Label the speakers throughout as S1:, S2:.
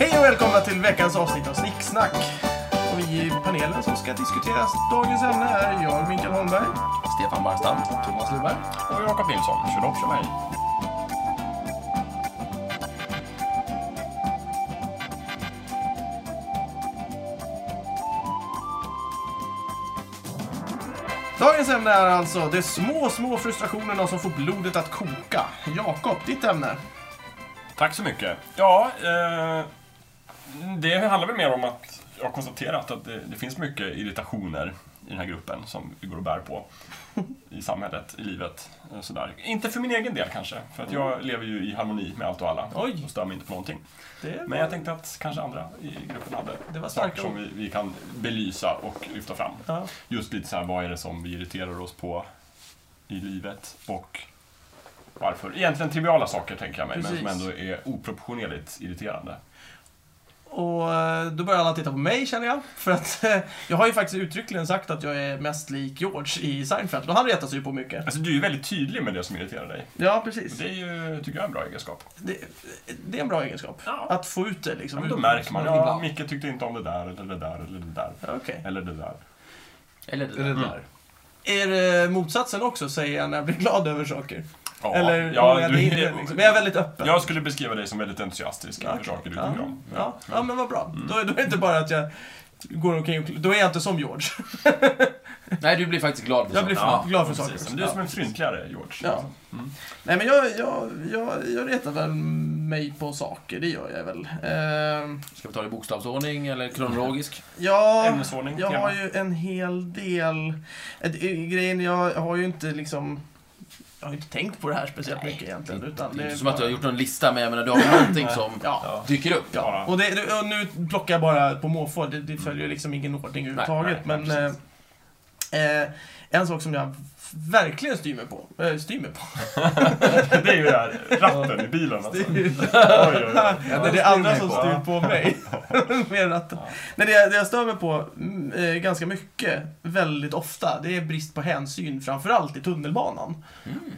S1: Hej och välkomna till veckans avsnitt av Snicksnack. Och vi i panelen som ska diskutera dagens ämne är jag, Mikael Holmberg.
S2: Stefan Barstam
S1: Thomas Lundberg.
S2: och Jakob Nilsson, kör också mig.
S1: Dagens ämne är alltså de små, små frustrationerna som får blodet att koka. Jakob, ditt ämne.
S2: Tack så mycket. Ja, eh, det handlar väl mer om att jag har konstaterat att det, det finns mycket irritationer i den här gruppen som vi går och bär på i samhället, i livet. eh, Sådär. Inte för min egen del kanske, för att jag lever ju i harmoni med allt och alla
S1: Mm. Oj.
S2: och stör mig inte på någonting.
S1: Det
S2: Men jag tänkte att kanske andra i gruppen hade
S1: Det var
S2: saker
S1: starka
S2: som vi, vi kan belysa och lyfta fram.
S1: Ja.
S2: Just lite så här, vad är det som vi irriterar oss på i livet och varför? Egentligen triviala saker tänker jag mig, men
S1: Precis.
S2: som ändå är oproportionerligt irriterande.
S1: Och eh, då börjar alla titta på mig känner jag. För att eh, jag har ju faktiskt uttryckligen sagt att jag är mest lik George i Seinfeld. Och han retar sig ju på mycket.
S2: Alltså, du är väldigt tydlig med det som irriterar dig.
S1: Ja,
S2: Och
S1: precis.
S2: det är ju, tycker jag, en bra egenskap.
S1: Det, det är en bra egenskap.
S2: Ja.
S1: Att få ut det liksom.
S2: Men då
S1: ut-
S2: märker man, ja,
S3: ibland.
S2: Micke tyckte inte om det där, eller det där, eller det där.
S1: Ja, Okej.
S2: Eller det där.
S3: Eller det
S2: Mm.
S3: där.
S1: Är det motsatsen också, säger jag när jag blir glad över saker?
S2: Ja,
S1: Eller
S2: ja,
S1: håller jag
S2: du-
S1: det inne, liksom? Men jag är väldigt öppen.
S2: Jag skulle beskriva dig som väldigt entusiastisk över saker du
S1: ja.
S2: tycker om.
S1: Ja. ja, men vad bra. Då, är- då är det inte bara att jag går omkring och... Då är jag inte som George.
S3: Nej, du blir faktiskt glad för
S1: Jag blir
S3: sånt.
S1: fan glad för
S2: precis.
S1: saker.
S2: Men du är som en fryntligare, George.
S1: Ja. Nej, men jag, jag, jag, jag retar väl mig på saker, det gör jag väl. Ehm,
S3: Ska vi ta det i bokstavsordning eller kronologisk?
S1: ja,
S2: Ämnesordning,
S1: jag
S2: tema.
S1: har ju en hel del... Ett, grejen, jag har ju inte liksom... Jag har ju inte tänkt på det här speciellt
S3: Nej,
S1: mycket egentligen.
S3: Det
S1: Utan
S3: är inte
S1: är
S3: som att
S1: bara-
S3: jag har gjort någon lista, men jag menar, du har ju någonting som
S1: Ja.
S3: dyker upp.
S1: Ja,
S2: Bara-
S1: och, det, det- och nu plockar jag bara på måfå. Det, det följer liksom ingen ordning överhuvudtaget.
S3: nej,
S1: men
S3: nej,
S1: eh, eh, en sak som jag verkligen styr mig på. Eh, styr mig på?
S2: Det är ju det här, ratten i bilen alltså.
S1: Det är ju-
S2: Oj, oj, oj.
S1: det är det
S3: styr
S1: andra
S3: mig
S1: som
S3: på.
S1: styr på mig. Mer att, nej, det, jag- det jag stör mig på mm, eh, ganska mycket, väldigt ofta, det är brist på hänsyn. Framförallt i tunnelbanan.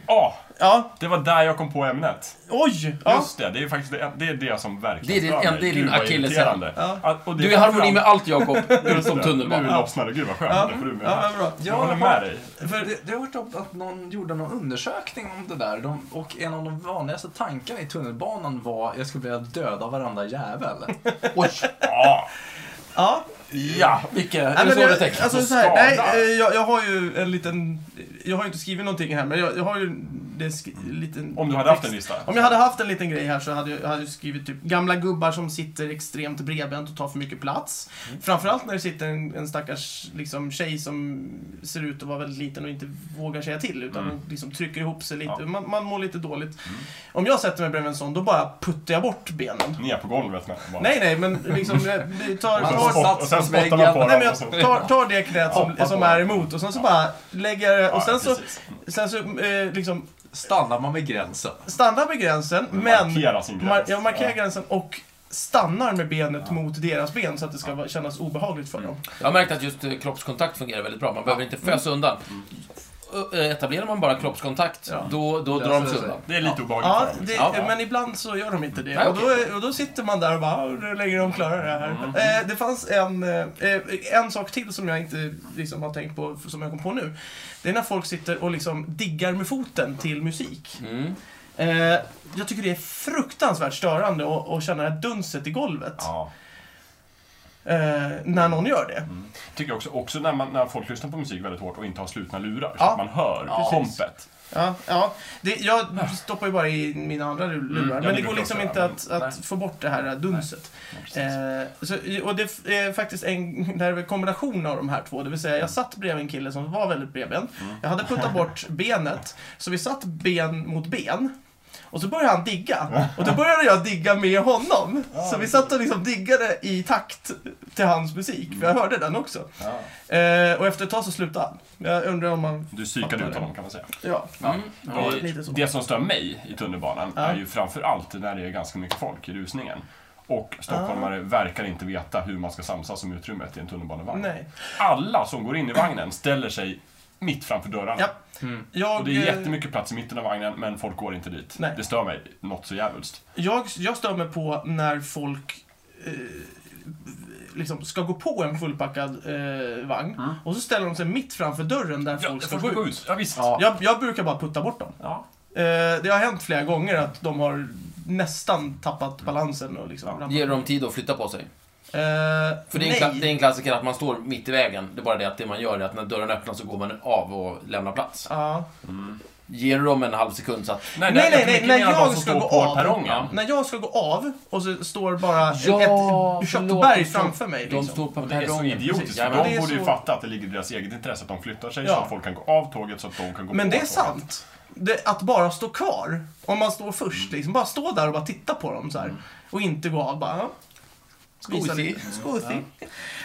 S2: Ja,
S1: Ja,
S2: det var där jag kom på ämnet.
S1: oj! Ja,
S2: Just det, det är faktiskt det, det, är det som
S3: Det är
S2: verkligen
S3: din-
S2: stör mig.
S3: det är din
S2: Gud, vad
S3: akilleshäl.
S2: irriterande.
S1: Ja.
S2: Att- och det
S3: Du är i harmoni
S2: fram-
S3: med allt, Jakob,
S2: Just
S3: utom
S2: det. Nu är
S3: tunnelbanan.
S2: det loppsnöre. Gud vad skönt,
S1: ja,
S2: då får du med.
S1: ja, vad bra.
S2: Jag håller med dig.
S1: För-
S4: Det, det har varit upp att någon gjorde någon undersökning om det där de, och en av de vanligaste tankarna i tunnelbanan var jag skulle vilja döda varenda jävel.
S3: Oj!
S2: Ja,
S1: Ja,
S2: ja.
S3: Vilka, är
S1: Nej,
S3: det
S1: men
S3: så du
S1: jag-
S3: tänker?
S1: Alltså,
S2: På
S1: så här,
S2: skada.
S1: nej, eh, jag, jag har ju en liten... Jag har ju inte skrivit någonting här, men jag, jag har ju det skri, liten...
S2: Om du hade haft en
S1: text.
S2: lista.
S1: Om jag hade haft en liten grej här så hade jag, jag hade ju skrivit typ gamla gubbar som sitter extremt bredbent och tar för mycket plats.
S2: Mm.
S1: Framförallt när det sitter en, en stackars liksom, tjej som ser ut att vara väldigt liten och inte vågar säga till utan
S2: Mm.
S1: liksom trycker ihop sig lite.
S2: Ja. Mm.
S1: Man, man mår lite dåligt. Om jag sätter mig bredvid en sån, då bara puttar jag bort benen.
S2: Ner på golvet med. bara.
S1: Nej, nej, men liksom... jag- det tar,
S2: Och sen,
S1: tar,
S2: spott, och sen
S4: Satt mot
S2: spottar man
S4: väggen.
S2: på
S1: Nej,
S2: dem.
S1: men
S2: och så-
S1: jag tar, tar det knät som,
S4: Hoppa
S1: som
S4: på.
S1: är emot och sen så bara lägger jag det och sen så,
S2: precis.
S1: sen så eh, liksom
S4: Stannar man vid gränsen?
S1: stannar med gränsen men
S2: Markera sin gräns.
S1: mar- jag markerar gränsen och stannar med benet mot deras ben så att det ska vara- kännas obehagligt för dem.
S3: Jag har märkt att just eh, kroppskontakt fungerar väldigt bra. Man behöver inte fösa
S1: Mm.
S3: undan. Ö- eh, Etablerar man bara kroppskontakt,
S1: Ja.
S3: då, då
S4: Löser
S3: drar de
S4: det
S3: sig
S4: sig.
S3: undan.
S2: Det är lite
S1: Ja,
S2: obehagligt för
S1: det,
S2: dem.
S3: Ja.
S1: men ibland så gör de inte det.
S3: Nej,
S1: och, då, är- och då sitter man där och bara, "Åh, hur länge de klarar det här. Eh, det fanns en, eh, en sak till som jag inte liksom, har tänkt på, som jag kom på nu. Det är när folk sitter och liksom diggar med foten till musik.
S3: Mm.
S1: Eh, jag tycker det är fruktansvärt störande att, att känna det här dunset i golvet.
S2: Ja.
S1: Eh, när någon gör det.
S2: Tycker också, också när, man, när folk lyssnar på musik väldigt hårt och inte har slutna lurar, så
S1: Ja.
S2: att man hör
S3: Ja.
S2: kompet.
S1: Ja, ja. Det, jag stoppar ju bara i mina andra lur- lurar.
S2: ja,
S1: men
S2: det
S1: det går
S2: brukar
S1: liksom
S2: jag
S1: inte
S2: också
S1: att, att få bort det här dunset. Eh, så, och det är faktiskt en det här är en kombination av de här två. Det vill säga, jag satt bredvid en kille som var väldigt bredbent. Jag hade puttat bort benet, så vi satt ben mot ben. Och så började han digga. Och då började jag digga med honom. Så vi satt och liksom diggade i takt till hans musik. För jag hörde den också. Eh, och efter ett tag så slutade han. Jag undrar om han...
S2: Du psykade
S1: Fattar
S2: ut
S1: det.
S2: honom kan man säga.
S1: Ja.
S3: Mm.
S1: Ja,
S2: Eh,
S1: lite så.
S2: Det som stör mig i tunnelbanan
S1: Ja.
S2: är ju framförallt när det är ganska mycket folk i rusningen. Och stockholmare verkar inte veta hur man ska samsas om utrymmet i en tunnelbanevagn.
S1: Nej.
S2: Alla som går in i vagnen ställer sig mitt framför dörrarna.
S1: Ja.
S3: Mm.
S1: Jag,
S2: Och det är
S1: eh,
S2: jättemycket plats i mitten av vagnen, men folk går inte dit.
S1: Nej.
S2: Det stör mig något så djävulskt.
S1: jag, jag stör mig på när folk eh, liksom ska gå på en fullpackad eh, vagn och så ställer de sig mitt framför dörren där
S2: Ja,
S1: folk ska
S2: folk ska
S1: gå
S2: gå
S1: ut.
S2: ut. Ja, visst.
S4: Ja.
S1: Jag, jag brukar bara putta bort dem.
S2: Ja.
S1: Eh, det har hänt flera gånger att de har nästan tappat balansen och liksom ramlat.
S3: Ger dem tid att flytta på sig?
S1: Eh,
S3: För det är, en,
S1: nej.
S3: kla- det är en klassiker att man står mitt i vägen. Det är bara det att det man gör är att när dörren öppnas så går man av och lämnar plats.
S1: Ja.
S3: Ger du dem en halv sekund så att...
S2: Nej,
S1: Nej,
S2: nej,
S1: nej,
S2: nej,
S1: nej,
S2: jag,
S1: när
S2: menar
S1: jag
S2: de som
S1: ska
S2: står
S1: gå
S2: på
S1: av-
S2: perrongen.
S3: Ja.
S1: När jag ska gå av och så står bara
S3: Ja,
S1: ett
S3: förlåt,
S1: köttberg
S3: de står-
S1: framför mig.
S3: De
S1: Liksom.
S3: står på
S2: Det är så
S3: perrongen.
S2: idiotiskt,
S3: precis.
S2: för
S3: Ja,
S2: de
S1: det är
S2: borde ju
S1: så-
S2: fatta att det ligger i deras eget intresse att de flyttar sig
S1: Ja.
S2: så att folk kan gå av tåget så att de kan gå
S1: Men
S2: på
S1: det är
S2: tåget.
S1: sant. Det, att bara stå kvar. Om man står först. Liksom, bara stå där och bara titta på dem så här. Och inte gå av. Bara, ja. Visa
S3: Skosig.
S1: lite. Skosig.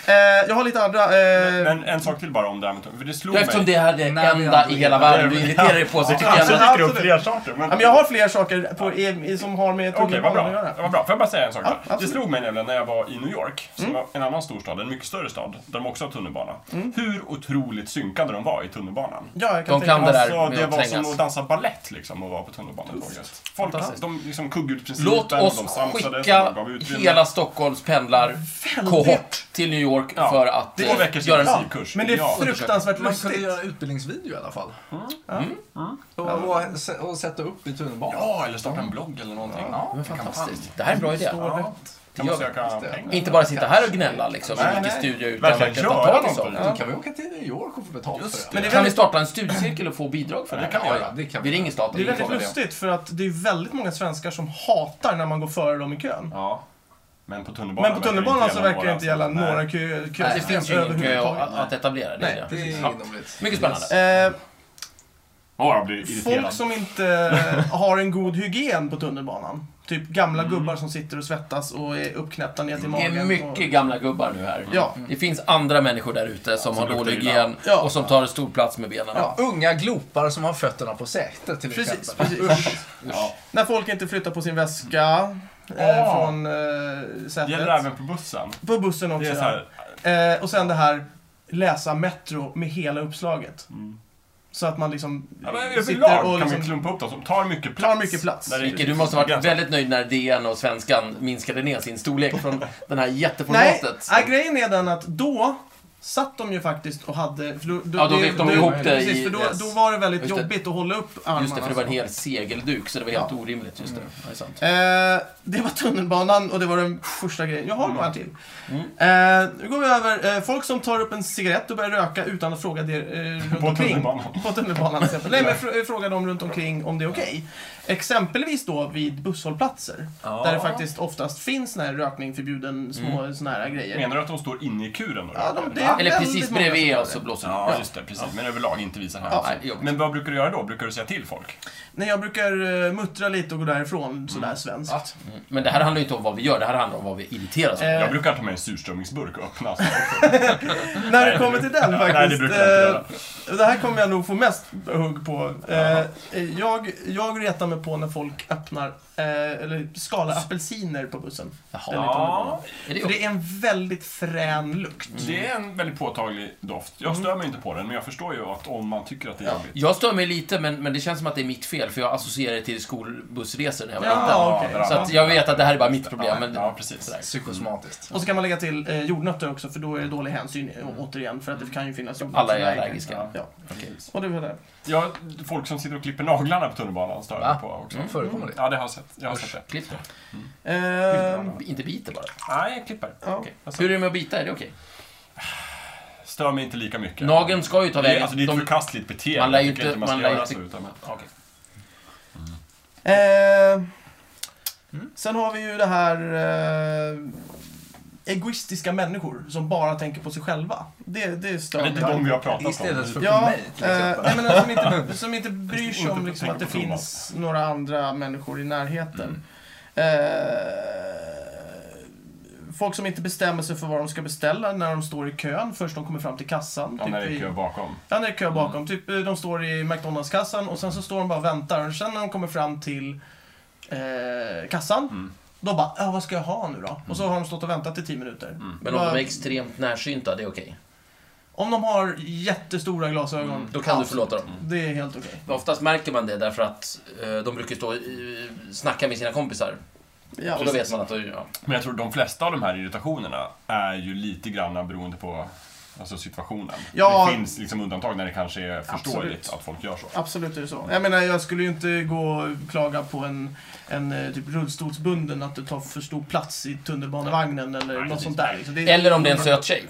S1: Eh, jag har lite andra. Eh,
S2: Men en sak till bara om det här med tåg, för det slog
S3: Ja, Eftersom
S2: mig.
S3: det här är det
S4: Nej,
S3: enda
S4: det är
S3: i hela världen du irriterar dig på så tycker jag
S2: Kanske
S3: ändå...
S1: Absolut.
S2: dyker det upp fler saker.
S1: ja, men jag har fler saker på, i, i, som har med
S2: Okej, vad
S1: tunnelbanan
S2: bra.
S1: att göra.
S2: Vad bra. Får jag bara säga en sak
S1: Ja,
S2: där? Det
S1: absolut. Mm.
S2: slog mig nämligen när jag var i New York, som var en annan storstad, en mycket större stad, där de också har tunnelbana. Hur otroligt synkade de var i tunnelbanan.
S1: Ja, jag kan
S3: De
S1: tänka
S3: kan
S1: mig.
S3: det där
S2: Alltså,
S3: med
S2: det
S3: att
S2: var som att
S3: trängas.
S2: dansa ballett liksom och vara på tunnelbanetåget. Folk,
S1: Fantastiskt.
S2: de liksom kuggutprincipen,
S3: Låt
S2: de
S3: oss
S2: samsades, de
S3: skicka
S2: gav utrymme.
S3: hela Stockholms pendlarkohort till New York
S2: Ja,
S3: för att
S2: två
S3: eh,
S2: veckors
S3: göra en
S1: Ja,
S2: Kurs,
S1: men det är
S2: ja.
S1: fruktansvärt
S4: Man kunde
S1: lustigt.
S4: göra en utbildningsvideo i alla fall. Mm. Och, och, se- och sätta upp i tunnelbanan.
S2: Ja, eller starta en blogg eller någonting.
S4: Ja,
S3: Men fantastiskt. Det här är en bra idé.
S2: Ja, kan man
S3: Det gör
S2: söka
S4: det.
S2: pengar?
S3: Inte bara sitta här och gnälla liksom,
S2: Nej,
S3: i vilken
S2: nej.
S3: studio utan
S2: Verkligen
S3: verkligen
S2: göra
S3: ta tag i
S2: något
S3: saken.
S2: av
S4: Då kan vi åka till New York och få betalt
S2: Just
S4: för
S1: Men
S4: det.
S1: det är
S3: Kan vi
S1: väldigt,
S3: starta en studiecirkel och få bidrag för det?
S4: Det kan vi göra. Det kan vi
S3: vi ringer
S1: det
S3: staten.
S1: är
S3: och
S1: väldigt
S3: frågar det.
S1: lustigt för att det är väldigt många svenskar som hatar när man går före dem i kön.
S2: Ja. Men på tunnelbanan,
S1: Men på tunnelbanan så verkar det inte gälla några kö-
S3: Nej, Det finns ju
S1: kösystem
S3: ingen kö att,
S1: överhuvudtaget.
S3: att etablera. Det
S1: Nej.
S3: är det.
S4: Det är
S2: Ja.
S4: egendomligt.
S3: Mycket spännande.
S1: Eh,
S2: Åh, jag blir irriterad.
S1: Folk som inte har en god hygien på tunnelbanan. Typ gamla
S2: Mm.
S1: gubbar som sitter och svettas och är uppknäppta ner till
S3: Det
S1: magen.
S3: är
S1: och...
S3: mycket gamla gubbar nu här.
S1: Ja.
S3: Det finns andra människor där ute som har
S2: luktar
S3: dålig
S2: illa.
S3: hygien
S1: Ja.
S3: och som tar stor plats med benen.
S4: Ja, unga glopar som har fötterna på sätet till
S1: Precis,
S4: exempel.
S1: precis.
S2: Ja.
S1: När folk inte flyttar på sin väska eh,
S2: Ah.
S1: från eh,
S2: Det
S1: sätet.
S2: gäller även på bussen.
S1: På bussen också.
S2: Det är så
S1: ja.
S2: här,
S1: eh, och sen det här läsa Metro med hela uppslaget. Så att man liksom
S2: Mm. ja, men
S1: eh,
S2: överlag
S1: och
S2: kan vi klumpa upp dem som tar mycket plats.
S1: tar mycket plats.
S2: Där är-
S3: Micke, du måste ha varit väldigt nöjd när DN och Svenskan minskade ner sin storlek från den här
S1: Nej,
S3: jätteformatet.
S1: nej, grejen är den att då satt de ju faktiskt och hade... För då, då,
S3: Ja, då
S1: det-
S3: vet de
S1: då-
S3: ihop det i-
S1: Precis, för då,
S3: yes.
S1: då var det väldigt
S3: Just det.
S1: jobbigt att hålla upp armarna.
S3: Just det, för det var en
S1: så.
S3: hel segelduk, så det var helt orimligt. Just det. Ja, det är sant.
S1: Eh, det var tunnelbanan och det var den första grejen. Jag
S3: Mm.
S1: har några till. Eh, nu går vi över. Eh, folk som tar upp en cigarett och börjar röka utan att fråga det eh, runt
S2: På
S1: omkring.
S2: tunnelbanan.
S1: På tunnelbanan. till exempel. Nej, men fr- fråga dem runt omkring om det är okej. Exempelvis då vid busshållplatser.
S4: Ja.
S1: Där det faktiskt oftast finns sån här rökning förbjuden, små
S3: Mm.
S1: såna här grejer.
S2: Menar du att de står inne i kuren då?
S1: Ja, de- det-
S2: Ja,
S3: Eller
S1: väldigt
S3: precis
S1: många som gör
S3: bredvid
S1: det.
S3: oss så blåser det.
S2: Ja, just det. Precis. Men överlag inte visa här.
S3: Ja, nej, det är jobbigt.
S2: men vad brukar du göra då? Brukar du säga till folk?
S1: Nej, jag brukar eh, muttra lite och gå därifrån sådär
S3: Mm.
S1: svenskt.
S4: Ja.
S3: Men det här handlar ju inte om vad vi gör, det här handlar om vad vi irriteras av.
S1: Eh,
S2: Jag brukar ta med en surströmmingsburk och öppna. så.
S1: När
S2: Nej,
S1: det
S2: det
S1: kommer till den faktiskt.
S2: Nej, det brukar jag inte
S1: eh, det här kommer jag nog få mest hugg på. Eh, eh, jag, jag retar mig på när folk öppnar, eh, eller skalar apelsiner på bussen.
S3: Jaha.
S1: Eller tunnelbanan.
S3: Är det
S1: För det är en väldigt frän lukt.
S2: Det är en väldigt påtaglig doft. Jag
S1: Mm.
S2: stör mig inte på den, men jag förstår ju att om man tycker att det är jobbigt.
S3: Jag stör mig lite, men, men det känns som att det är mitt fel, för jag associerar det till skolbussresor när jag var
S1: Ja,
S3: liten.
S1: okej.
S2: bra.
S3: Så att jag vet att det här är bara mitt problem. Men
S2: Ja, precis.
S4: Psykosomatiskt.
S1: Och så kan man lägga till eh, jordnötter också, för då är det dålig hänsyn eh, återigen, för att det kan ju finnas jordnötter.
S3: Mm. alla
S1: som
S3: är allergiska.
S1: Ja.
S3: Okej.
S1: Och det var det.
S2: Ja, folk som sitter och klipper naglarna på tunnelbanan stör jag
S3: Va? Mm.
S2: mig på också.
S4: Förekommer det?
S2: Ja, det har jag sett. Jag har sett Alltså, det.
S3: Klipp det.
S1: Eh,
S3: Inte biter bara.
S2: Nej, jag klipper.
S1: ja.
S3: Hur är det med att bita? Är det okej?
S2: Stör mig inte lika mycket.
S3: Nageln ska ju ta
S2: det är,
S3: vägen.
S2: alltså, det är ett
S3: De-
S2: förkastligt beteende.
S3: man lär ju
S2: Jag tycker
S3: inte-
S2: man ska
S3: man lär ju
S2: göra
S3: inte-
S2: så, utan, men, okej.
S1: Eh,
S2: Mm.
S1: Sen har vi ju det här eh, egoistiska människor som bara tänker på sig själva. Det, det
S2: Det
S1: stör
S2: är inte de vi har pratat om.
S4: Istället för på
S1: Ja,
S4: mig till
S1: eh, nej,
S4: exempel.
S1: men alltså, som, inte, som inte bryr sig om
S2: Inte
S1: liksom,
S2: tänker
S1: att det
S2: på sig själva.
S1: finns några andra människor i närheten.
S2: Mm.
S1: Eh, folk som inte bestämmer sig för vad de ska beställa när de står i kön först de kommer fram till kassan.
S2: Ja,
S1: typ
S2: när det är
S1: i-
S2: kö bakom.
S1: Ja, det är kö bakom.
S3: Mm.
S1: Typ, eh, de står i McDonalds-kassan och sen så står de bara och väntar. Och sen när de kommer fram till eh, kassan,
S2: Mm.
S1: då bara ja, vad ska jag ha nu då?” Och så har de stått och väntat i 10 minuter.
S3: Mm. Men om
S1: Bara-
S3: de är extremt närsynta, det är okej.
S1: om de har jättestora glasögon,
S3: Mm, Då kan du
S1: absolut.
S3: förlåta dem.
S1: Det är helt okej.
S3: Oftast märker man det därför att eh, de brukar stå eh, snacka med sina kompisar
S1: Ja,
S3: Och då vet man att det ja.
S2: Men jag tror de flesta av de här irritationerna är ju lite grann beroende på alltså, situationen.
S1: Ja.
S2: Det finns liksom undantag när det kanske är förståeligt
S1: Absolut.
S2: att folk gör så.
S1: Absolut är det så. Jag menar, jag skulle ju inte gå och klaga på en, en eh, typ rullstolsbunden att du tar för stor plats i tunnelbanevagnen eller
S2: Nej,
S1: något
S2: precis.
S1: sånt där. liksom. Det-
S3: Eller om det är en söt tjej.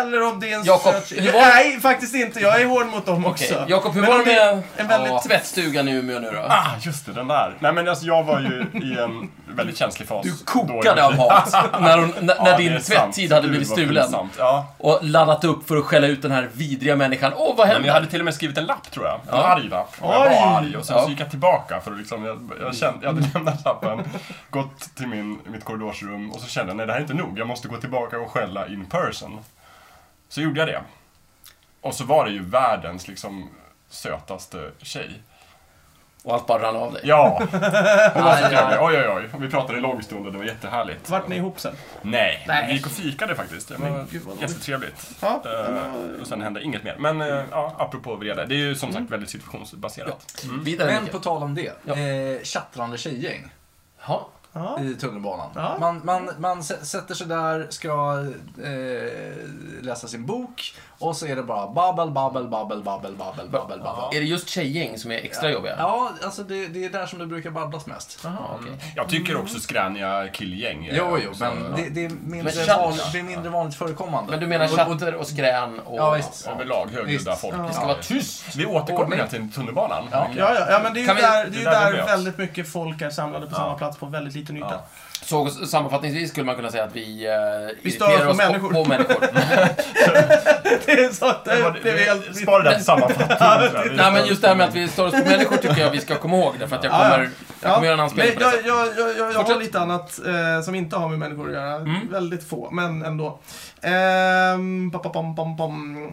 S1: Eller om det är en
S3: Jakob,
S1: söt
S3: hur var det?
S1: Nej, faktiskt inte. Jag är hård mot dem
S3: Okej,
S1: också.
S3: Jakob, hur
S1: Men
S3: var det
S1: om är
S3: med
S1: En väldigt...
S3: ja, tvättstugan i Umeå nu då?
S2: Ah, just det, den där. Nej men alltså jag var ju i en väldigt känslig fas.
S3: Du
S2: då i
S3: kokade
S2: mitt
S3: av
S2: liv.
S3: hat när, hon, när,
S2: Ja,
S3: när
S2: det
S3: din
S2: är sant.
S3: tvätttid hade
S2: Gud,
S3: blivit
S2: vad
S3: stulen.
S2: pinsamt. Ja.
S3: Och laddat upp för att skälla ut den här vidriga människan. Åh,
S2: Nej, men
S3: vad
S2: jag
S3: hände?
S2: hade till och med skrivit en lapp tror jag. En
S3: Ja.
S2: arg lapp. Och jag
S1: Oj.
S2: var arg och sen
S3: Ja.
S2: så gick jag tillbaka för att liksom, jag, jag, kände, jag hade lämnat lappen, gått till min, mitt korridorsrum och så kände jag nej det här är inte nog, jag måste gå tillbaka och skälla in person. Så gjorde jag det. Och så var det ju världens liksom sötaste tjej.
S3: Och allt bara rann av dig.
S2: Ja, hon var så
S3: Aj,
S2: trevlig.
S3: aj.
S2: Oj, oj, oj. Och Vi pratade en lång stund och det var jättehärligt.
S1: Vart ni ihop sen?
S2: Nej,
S1: Nej.
S2: vi gick och fikade faktiskt. Det
S1: Men
S2: var
S1: gud, vad
S2: jättetrevligt.
S1: Ja,
S2: Eh, och sen hände inget mer. Men eh, ja, apropå vrede, det är ju som sagt väldigt situationsbaserat.
S3: Vidare
S4: Men på
S3: Micke.
S4: tal om det.
S3: Ja.
S4: Eh, tjattrande tjejgäng
S3: Ja.
S1: Ja.
S4: i tunnelbanan.
S1: Ja.
S4: Man, man, man sä- sätter sig där, ska eh, läsa sin bok och så är det bara babbel, babbel, babbel, babbel, babbel, babbel, babbel.
S3: Är det just tjejgäng som är extra jobbiga?
S4: Ja, alltså det, det är där som det brukar babblas mest.
S3: Aha, okej.
S2: Jag tycker också skräniga killgäng. eh, alltså, är
S4: Jo, jo,
S2: också-
S4: men det, det, är mindre
S3: Men chatt-
S4: van, det är mindre vanligt förekommande.
S3: Men du menar
S4: Och- och-
S3: chatter och skrän och...
S4: Ja, visst.
S2: Överlag högljudda
S4: Visst.
S2: folk.
S1: Ja.
S3: Det ska vara tyst.
S2: Vi återkommer hela tiden till tunnelbanan.
S1: Ja, ja, ja, men det är ju
S3: Kan vi-
S1: där, det är ju
S2: det där
S1: där,
S2: vi möts.
S1: väldigt mycket folk är samlade på samma plats på väldigt liten yta.
S2: Ja.
S3: Så sammanfattningsvis skulle man kunna säga att vi... Eh, irriterar
S1: stör på
S3: oss
S1: människor.
S3: På, på människor.
S1: Det är så att det,
S2: Det var-
S1: det är
S2: vi
S1: helt...
S2: Spara den sammanfattningen. tror jag. Vi-
S3: Nej, men just det här med att vi stör oss på människor tycker jag vi ska komma ihåg. Därför att jag
S1: Ja, ja.
S3: kommer, jag kommer göra en
S1: Nej,
S3: anspelning på det.
S1: jag, jag, jag, jag, jag har
S3: Fortsätt. Mm.
S1: lite annat eh, som inte har med människor att göra. Väldigt få, men ändå. Ehm, pam, pam, pam, pam, pam.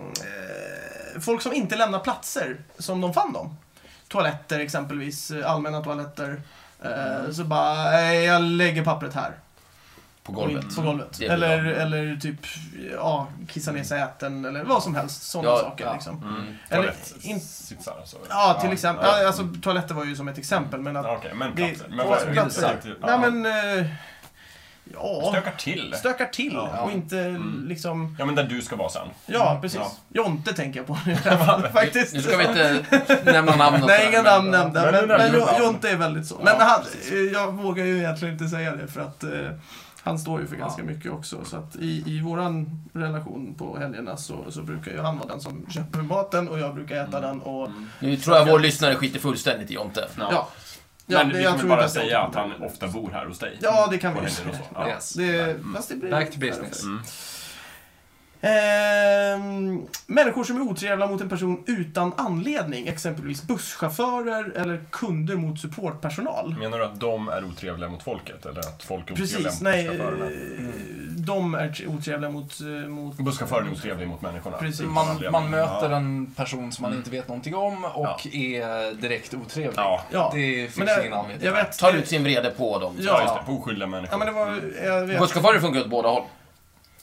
S1: Eh, folk som inte lämnar platser som de fann dem. Toaletter exempelvis, eh, allmänna toaletter. Eh,
S3: Mm.
S1: Så bara, "Nej, jag lägger pappret här.
S3: På golvet. Mm.
S1: På golvet.
S3: Det är bra.
S1: Eller, eller typ, ja, kissa ner sig i äten eller vad som helst. Sådana
S3: Ja,
S1: saker
S4: ja.
S1: liksom.
S2: Mm.
S1: Eller,
S2: Toalett-
S1: in,
S2: sitsar alltså.
S1: ja, till exempel.
S2: ja.
S1: Ja, alltså, toaletter var ju som ett exempel, men att
S2: Ja, Okej, men
S1: det-
S2: platser. Men vad är det?
S1: platser.
S2: Inte-
S1: Nej
S2: ja.
S1: men... eh, ja.
S2: Stökar till.
S1: Stökar till.
S2: Ja.
S1: Och inte liksom...
S2: Ja, men där du ska vara sen.
S1: Ja, precis.
S2: Ja.
S1: Jonte tänker jag på nu i alla fall, faktiskt.
S3: Nu ska vi inte nämna namn och
S1: Nej,
S3: sådär,
S1: inga
S3: men-
S1: namn nämnda.
S2: Men nu
S1: Men, men,
S2: nämner vi
S1: Jo-
S2: namn.
S1: Jonte är väldigt så. men han, eh, jag vågar ju egentligen inte säga det för att eh, han står ju för ganska mycket också. Så att i, i våran relation på helgerna så, så brukar ju han vara den som köper maten och jag brukar
S2: Mm.
S1: äta den och...
S3: Nu tror jag vår lyssnare skiter fullständigt i Jonte.
S1: Ja. ja
S2: Men
S1: det- jag
S2: vi kan väl
S1: tror
S2: bara
S1: inte
S2: säga
S1: jag-
S2: att han ofta bor här hos dig.
S1: Ja, det kan vi
S2: På
S1: ju
S2: helger och så.
S1: säga.
S2: Ja.
S4: Yes.
S1: Det, fast det blir
S4: Back to business.
S2: Mm.
S1: Ehm, människor som är otrevliga mot en person utan anledning, exempelvis busschaufförer eller kunder mot supportpersonal.
S3: Mm,
S2: Menar du att de är otrevliga mot folket eller att folk är otrevliga
S1: Precis,
S2: mot
S1: nej.
S2: busschaufförerna?
S1: eh,
S3: Mm.
S1: De är t- otrevliga mot... eh, mot
S2: Busschauffören är otrevlig mot människorna.
S1: Precis.
S2: utan
S4: Man,
S2: anledning.
S4: man möter
S2: Ja.
S4: en person som man inte vet någonting om och är direkt otrevlig.
S2: Ja,
S1: ja.
S4: Det finns
S1: Men det-
S4: ingen anledning.
S1: Jag vet.
S3: Tar ut Mm. sin vrede på dem.
S2: ja,
S1: Ja.
S2: just det. På oskyldiga människor.
S1: Ja, men det var... Jag vet.
S3: Busschaufförer funkar åt båda håll.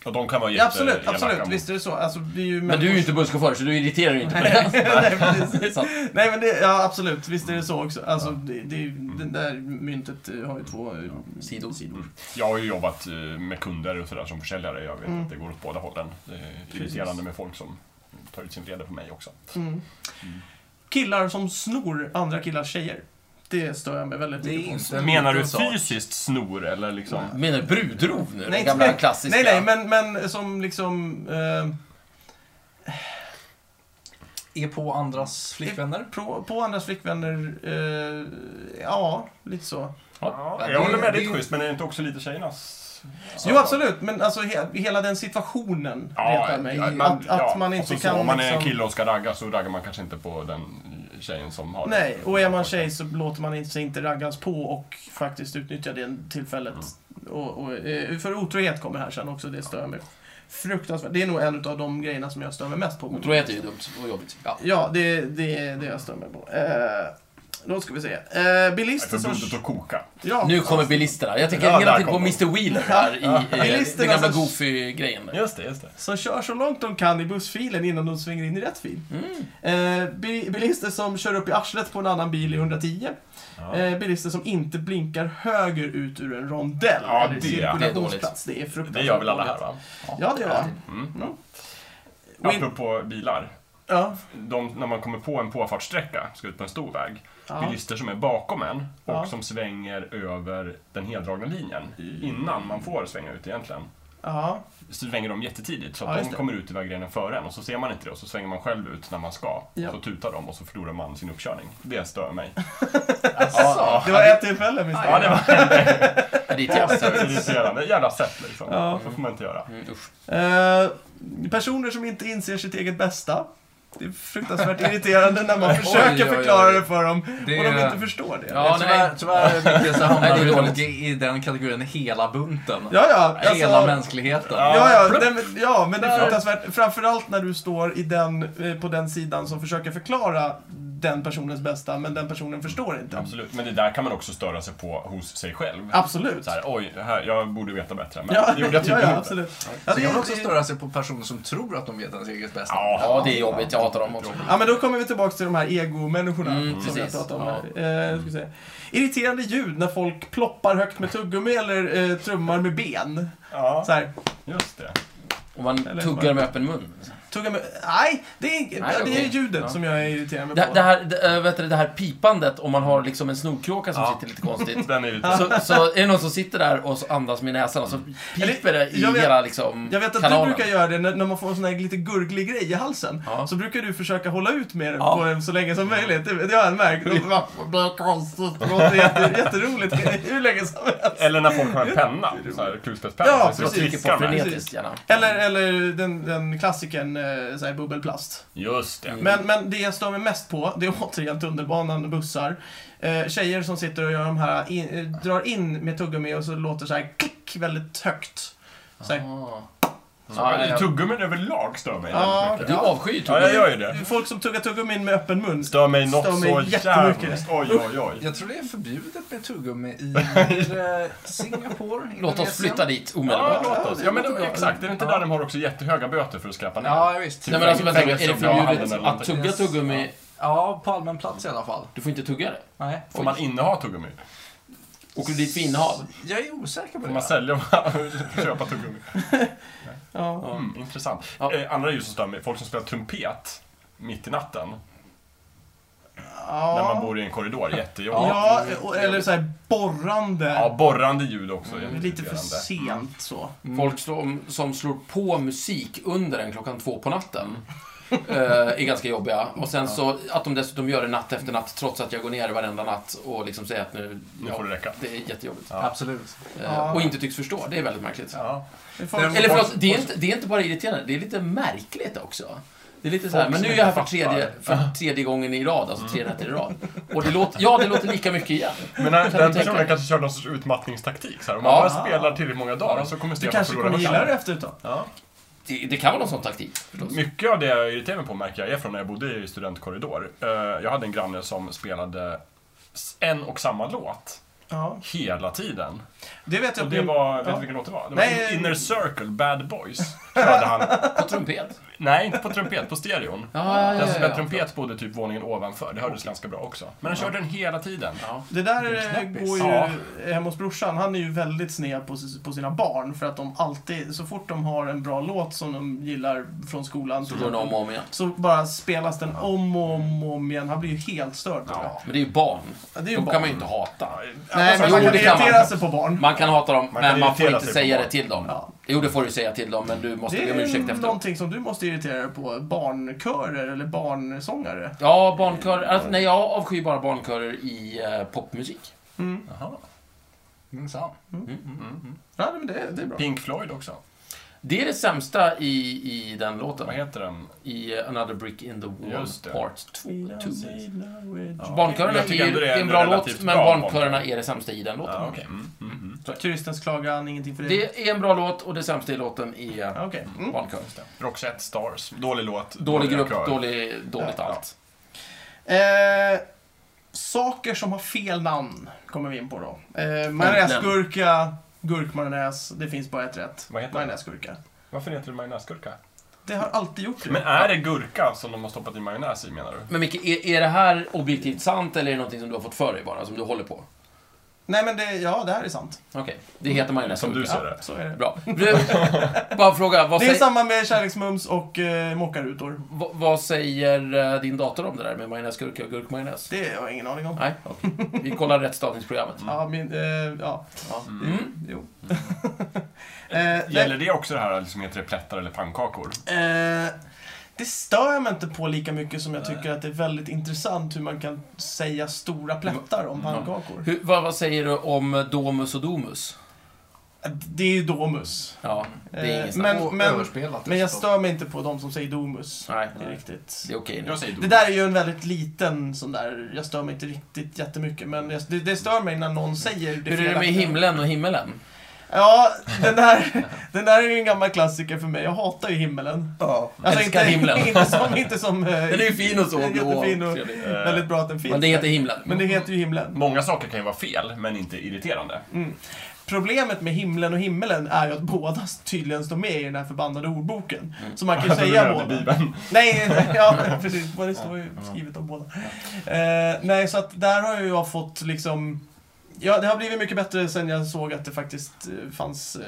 S2: Och de kan vara
S1: Ja, absolut,
S2: jätteelaka
S1: absolut.
S2: mot-
S1: Visst är det så. Alltså, det är ju
S3: Men du är ju inte busschaufför, så du irriterar ju inte på det.
S1: Nej, precis.
S3: Det är sant.
S1: Nej men det, ja absolut, visst är det så också. Alltså, det, det, är ju- det där myntet eh, har ju två eh,
S3: Sidor. Mm.
S1: sidor.
S2: Jag har ju jobbat eh, med kunder och sådär som försäljare. Jag vet
S1: Mm.
S2: att det går åt båda hållen. Det är irriterande med folk som tar ut sin vrede på mig också.
S1: Mm. Killar som snor andra killars tjejer. Det stör jag mig väldigt
S4: Det är
S1: mycket på.
S4: inte en
S2: Menar du
S4: liten sak.
S2: fysiskt snor eller liksom?
S3: Menar du brudrov nu?
S1: Nej,
S3: den gamla
S1: nej.
S3: klassiska?
S1: Nej, nej, men, men som liksom... Eh,
S4: Är på andras flickvänner?
S1: på, på andras flickvänner, eh, ja, lite så.
S3: Ja,
S2: Ja,
S3: det-
S2: jag håller med, det
S4: det-
S2: är schysst. Men är det inte också lite tjejernas?
S1: Jo, absolut, men alltså he, hela den situationen retar mig.
S2: ja,
S1: att, att
S2: ja,
S1: man
S2: och
S1: inte
S2: så,
S1: kan...
S2: så, Om man är en
S1: liksom-
S2: kille och ska ragga så raggar man kanske inte på den tjejen som har
S1: Nej, och är man tjej så låter man inte- sig inte raggas på och faktiskt utnyttja det tillfället. Och, och, eh, för otrohet kommer här sen också, det stör mig fruktansvärt. Det är nog en av de grejerna som jag stör mig mest på.
S3: Otrohet är ju dumt och jobbigt. Ja.
S1: Ja, det, det är det jag stör mig på. Eh, Då ska vi se. Eh, bilister
S2: För
S1: som...
S2: bundet att koka.
S1: Ja,
S3: Nu kommer bilisterna. Jag tänker
S2: Ja,
S3: hela
S2: där
S3: tiden på
S2: kommer
S3: Mr Wheeler här i eh,
S1: Bilisterna
S3: den gamla
S1: som-
S3: Goofy-grejen.
S2: Just det, just det.
S1: som kör så långt de kan i bussfilen innan de svänger in i rätt fil.
S2: Mm.
S1: Eh, bi- bilister som kör upp i arslet på en annan bil i 110.
S2: Ja.
S1: Eh, bilister som inte blinkar höger ut ur en rondell.
S2: Ja,
S1: eller
S2: det-
S1: cirkulationsplats. Det är fruktansvärt
S2: Det gör väl alla här va?
S1: Ja, det gör jag.
S2: Mm.
S1: Mm. Win-
S2: Apropå bilar.
S1: Ja.
S2: De, när man kommer på en påfartssträcka, ska ut på en stor väg,
S1: Ja.
S2: bilister som är bakom en och
S1: Ja.
S2: som svänger över den heldragna linjen innan man får svänga ut egentligen.
S1: Ja.
S2: Så svänger de jättetidigt så
S1: Ja,
S2: att
S1: just
S2: de
S1: det.
S2: kommer ut i vägrenen före en och så ser man inte det och så svänger man själv ut när man ska.
S1: Ja.
S2: Och så tutar de och så förlorar man sin uppkörning. Det stör mig.
S1: Det var ett tillfälle minst
S2: Ja, det var
S3: Det är ditt jävla
S2: Alltså, så irriterande. Jävla sätt liksom.
S1: Ja.
S2: Det får man inte göra.
S3: Mm, usch.
S1: Eh, personer som inte inser sitt eget bästa. Det är fruktansvärt irriterande när man försöker
S4: Oj, oj, oj.
S1: förklara det för dem
S4: Det
S1: och de
S4: är-
S1: inte förstår det. Ja,
S3: Ja,
S4: tyvärr,
S3: nej.
S4: tyvärr Micke, så
S3: Nej, det
S4: hamnar
S3: är
S4: vi
S3: dåligt.
S4: nog i den kategorin hela bunten.
S1: ja. alltså-
S4: Hela mänskligheten.
S1: Ja, ja, den, ja, men det är fruktansvärt. Framförallt när du står i den, eh, på den sidan som försöker förklara den personens bästa, men den personen förstår inte.
S2: Absolut. Men det där kan man också störa sig på hos sig själv.
S1: Absolut.
S2: Så här, oj, här, jag borde veta bättre. Men
S1: Ja,
S2: det gjorde
S1: ja,
S2: jag tydligen
S1: ja,
S2: inte.
S1: absolut. Ja,
S4: Så
S1: det,
S4: kan man också
S1: är-
S4: störa sig på personer som tror att de vet ens eget bästa.
S3: Ja, det är jobbigt. Jag hatar dem också.
S1: ja, men då kommer vi tillbaka till de här egomänniskorna
S3: Mm,
S1: som jag
S3: precis.
S1: pratade om här. Eh, jag ska säga. Irriterande ljud när folk ploppar högt med tuggummi eller eh, trummar med ben.
S2: Ja,
S1: Så här,
S2: just det.
S3: Och man
S1: Eller-
S3: tuggar med öppen mun.
S1: tugga med... Nej, det är, inte-
S3: Nej,
S1: det är
S3: okej.
S1: ljudet
S3: Ja.
S1: som jag är irriterad på.
S3: Det, det, här, det, äh, vet du, det här pipandet om man har liksom en snorkråka som
S2: Ja.
S3: sitter lite konstigt.
S2: Den är ju...
S3: Så, så är det någon som sitter där och så andas med näsan och så piper det i
S1: Mm. Jag vet-
S3: hela liksom,
S1: Jag vet att
S3: kanalen.
S1: du brukar göra det när, när man får en sån här lite gurglig grej i halsen.
S3: Ja.
S1: Så brukar du försöka hålla ut med det
S3: Ja.
S1: på en så länge som möjligt. Det, det har jag märkt. Det är konstigt. Det låter jätte, jätteroligt hur länge som helst.
S2: Eller när folk har en penna, så här kulspetspenna,
S1: Ja,
S2: så
S1: precis.
S2: de
S3: trycker
S2: klickar
S3: på
S2: med.
S3: frenetiskt gärna.
S1: Eller, eller den, den klassikern eh, så här, bubbelplast.
S2: Just det.
S1: Men, men det jag stör mig mest på, det är återigen tunnelbanan och bussar. Eh, tjejer som sitter och gör de här, in, eh, drar in med tuggummi och så låter så här klick väldigt högt. Så här,
S3: Ah.
S2: Ja,
S3: Ja, ja, ja.
S2: Tuggummin överlag stör mig
S1: Ja,
S2: väldigt mycket.
S3: Du avskyr
S2: Ja, jag
S3: tuggummi.
S2: gör ju det.
S1: folk som tuggar tuggummin med öppen mun.
S2: Stör mig något
S1: Stör mig
S2: så
S1: jättemycket.
S2: jävligt. Oj, oj, oj.
S4: Jag tror det är förbjudet med tuggummi i eh, Singapore,
S3: Låt oss
S4: Indonesien.
S3: flytta dit
S2: Ja,
S3: omedelbart.
S2: låt oss. Ja, men
S1: Ja,
S2: exakt. Är det inte
S4: ja.
S2: där de har också jättehöga böter för att skräpa ner?
S4: Ja, visst.
S3: Nej men alltså vänta, är det
S2: Fängelse, bra handel
S3: förbjudet
S2: eller
S3: att
S2: någonting.
S3: tugga
S4: Yes.
S3: tuggummi?
S4: Ja, på allmän plats i alla fall.
S3: Du får inte tugga det.
S4: Nej.
S2: Får man inneha tuggummi?
S3: Åker du dit för innehav?
S4: Jag är osäker på
S2: Får man
S4: det.
S2: sälja och köpa tuggummi?
S1: Ja.
S2: Mm, intressant.
S3: Ja.
S2: Eh, andra ljud som stör mig, folk som spelar trumpet mitt i natten.
S1: Ja.
S2: När man bor i en korridor, jättejobbigt. Ja.
S1: Ja, och- eller så här borrande.
S2: borrande ljud också.
S1: Men lite för
S2: jätteirriterande.
S1: sent så.
S2: Mm.
S3: Folk som, som slår på musik under en klockan två på natten.
S2: Mm.
S3: eh, är ganska jobbiga. Och sen så att de dessutom gör det natt efter natt trots att jag går ner varenda natt och liksom säger att nu...
S2: Nu får det räcka.
S3: Det är jättejobbigt.
S2: Ja.
S4: Absolut.
S1: Ja.
S3: Eh, och inte tycks förstå. Det är väldigt märkligt.
S2: Ja.
S1: Det får-
S4: Eller
S3: Eller förlåt, det är, inte, det är inte bara irriterande, det är lite märkligt också. Det är lite så här,
S2: Folk
S3: men nu
S2: som
S3: är jag här
S2: inte Mm.
S3: för tredje, för tredje gången i rad, alltså tre nätter i rad. Och det låter, ja, det låter lika mycket igen.
S2: Men den,
S3: Kan du
S2: den
S3: tänka
S2: personen
S3: dig?
S2: kanske kör någon sorts utmattningstaktik. Så här. Om man
S3: Ja.
S2: bara spelar tillräckligt många dagar så kommer
S1: Du
S2: Stefan
S1: kanske
S2: förlora
S1: kommer gilla
S2: hörseln.
S1: det efter ett tag.
S2: Ja.
S3: Det, det kan vara någon sån taktik förstås.
S2: Mycket av det jag irriterar mig på märker jag är från när jag bodde i studentkorridor. Eh, Jag hade en granne som spelade s- en och samma låt
S1: Ja.
S2: hela tiden.
S1: Det vet jag
S2: Och
S1: att
S2: det
S1: min-
S2: var, vet du
S1: ja.
S2: vilken låt det var? Det var
S1: Nej.
S2: In- Inner Circle, Bad Boys. Körde han.
S3: På trumpet.
S2: Nej, inte på trumpet, på stereon.
S3: Ja, ja,
S2: Den
S3: ja,
S2: som
S3: ja,
S2: spelade
S3: ja.
S2: trumpet bodde typ våningen ovanför, det hördes ganska bra också. Men han körde den hela tiden.
S3: ja.
S1: Det där eh,
S4: knäppis.
S1: går ju
S2: Ja.
S1: hemma hos brorsan. Han är ju väldigt sned på, s- på sina barn för att de alltid, så fort de har en bra låt som de gillar från skolan
S3: Så går den om och om igen.
S1: så bara spelas den om och om, och om igen. Han blir ju helt störd på det.
S2: Ja.
S3: Men det är ju barn.
S1: Ja, det är ju
S3: De
S1: barn.
S3: kan man ju inte hata.
S1: Nej,
S2: Alltså,
S1: men
S3: jo,
S1: man kan
S3: det kan man.
S1: irritera sig på barn.
S3: Man kan hata dem,
S2: Man kan
S3: men man får
S2: irritera
S3: inte
S2: sig
S3: säga
S2: på
S3: det till dem.
S1: Ja.
S3: Jo, det får du säga till dem, men du måste
S1: Det
S3: be om ursäkt
S1: är
S3: efteråt.
S1: någonting som du måste irritera dig på. Barnkörer eller barnsångare.
S3: Ja, barnkörer. Alltså, nej, jag avskyr bara barnkörer i eh, popmusik. Mm.
S2: Jaha.
S4: Minsann.
S2: Mm.
S1: Ja, men det, det är bra.
S2: Pink Floyd också.
S3: Det är det sämsta i, i den låten.
S2: Vad heter den?
S3: i eh, Another Brick in the Wall
S2: Just det.
S3: Part 2.
S2: Ja.
S3: Barnkörerna
S2: Jag
S3: är,
S2: tycker
S3: ju-
S2: ändå
S3: det
S2: det är
S3: är en
S2: en
S3: bra låt,
S2: relativt
S3: men
S2: bra
S3: barnkörerna
S2: barnkör.
S3: är det sämsta i den låten.
S2: Ja, okej. Mm, mm, mm.
S1: Turistens klagan, ingenting för det.
S3: Det är en bra låt och det sämsta i låten är eh,
S1: Okej. Mm.
S3: barnkör.
S2: Roxette Stars. Dålig låt.
S3: Dålig
S2: dåliga
S3: grupp,
S2: körer.
S3: dålig, dåligt
S1: Ja.
S3: allt.
S1: Eh, Saker som har fel namn kommer vi in på då. Eh,
S3: Äntligen.
S1: Majonnäsgurka, gurkmajonnäs. Det finns bara ett rätt.
S2: Vad heter den?
S1: Majonnäsgurka.
S2: Varför heter det majonnäsgurka?
S1: Det har alltid gjort det.
S2: Men är det gurka som de har stoppat i majonnäs i menar du?
S3: Men Micke, är, är det här objektivt sant eller är det någonting som du har fått för dig bara, som du håller på?
S1: Nej men det, ja det här är sant.
S3: Okej, det heter majonnäs.
S2: Som du ser det.
S1: Så är det.
S3: Bra. Du, bara fråga, vad,
S1: Det är
S3: säg,
S1: samma med kärleksmums och eh, mockarutor.
S3: vad, vad säger eh, din dator om det där med majonnäsgurka och gurkmajonnäs?
S1: Det har jag ingen aning om.
S3: Nej, okej. Vi kollar rättstavningsprogrammet.
S1: Ja, min, eh, ja.
S3: Ja.
S1: Mm. Jo.
S3: Mm.
S1: eh,
S2: Gäller
S1: nej,
S2: det också det här liksom, heter det plättar eller pannkakor?
S1: eh, det stör jag mig inte på lika mycket som jag tycker att det är väldigt intressant hur man kan säga stora plättar om pannkakor.
S3: Mm. Hur, vad, vad säger du om domus och domus?
S1: Eh, Det är ju domus.
S3: Ja, det är ingen
S1: Eh,
S3: snack.
S1: men-
S4: och
S1: men-
S4: överspelat
S1: Men jag
S4: dessutom.
S1: stör mig inte på de som säger domus.
S3: Nej,
S1: Det är riktigt.
S3: det är okej nu.
S2: Jag säger
S1: Det där är ju en väldigt liten sån där, jag stör mig inte riktigt jättemycket, men jag, det, det stör mig när någon säger det
S3: Hur är det med
S1: felaktiga.
S3: himlen och himmelen?
S1: Ja, den där, den där är ju en gammal klassiker för mig. Jag hatar ju himmelen.
S3: Ja. Älskar himlen.
S1: Inte som, inte som eh,
S3: Den är ju fin och så.
S1: Den är
S3: blå
S1: jättefin och-
S3: trevlig.
S1: väldigt bra att den finns.
S3: Men det heter himlen.
S1: Men det heter ju himlen. Mm.
S2: Många saker kan ju vara fel, men inte irriterande.
S1: Problemet med himlen och himmelen är ju att båda tydligen står med i den här förbannade ordboken.
S3: Mm.
S1: Så man kan ju säga
S2: Alltså, det
S1: båda.
S2: är Bibeln.
S1: Nej, nej, ja precis. Men Det står ju skrivet om båda. Eh, nej, så att där har ju jag fått liksom... Ja, det har blivit mycket bättre sen jag såg att det faktiskt eh, fanns eh,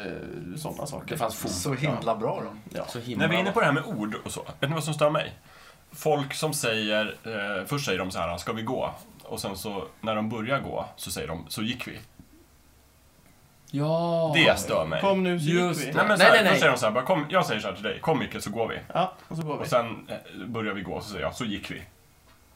S1: sådana
S3: Det
S1: saker.
S3: fanns fog.
S4: Så himla bra då.
S1: Ja.
S3: Så himla
S2: När vi är inne på det här med ord och så, vet ni vad som stör mig? Folk som säger, eh, först säger de så här, ska vi gå? Och sen så, när de börjar gå, så säger de, så gick vi.
S3: Ja.
S2: Det stör mig.
S1: Kom nu, så
S3: Just
S1: gick vi.
S3: det.
S2: Nej men så
S3: Nej,
S2: här,
S3: nej, nej.
S2: Då säger de så här, bara, kom, jag säger så här till dig, kom Micke så går vi.
S1: Ja, och så går vi.
S2: Och sen eh, börjar vi gå, så säger jag, så gick vi.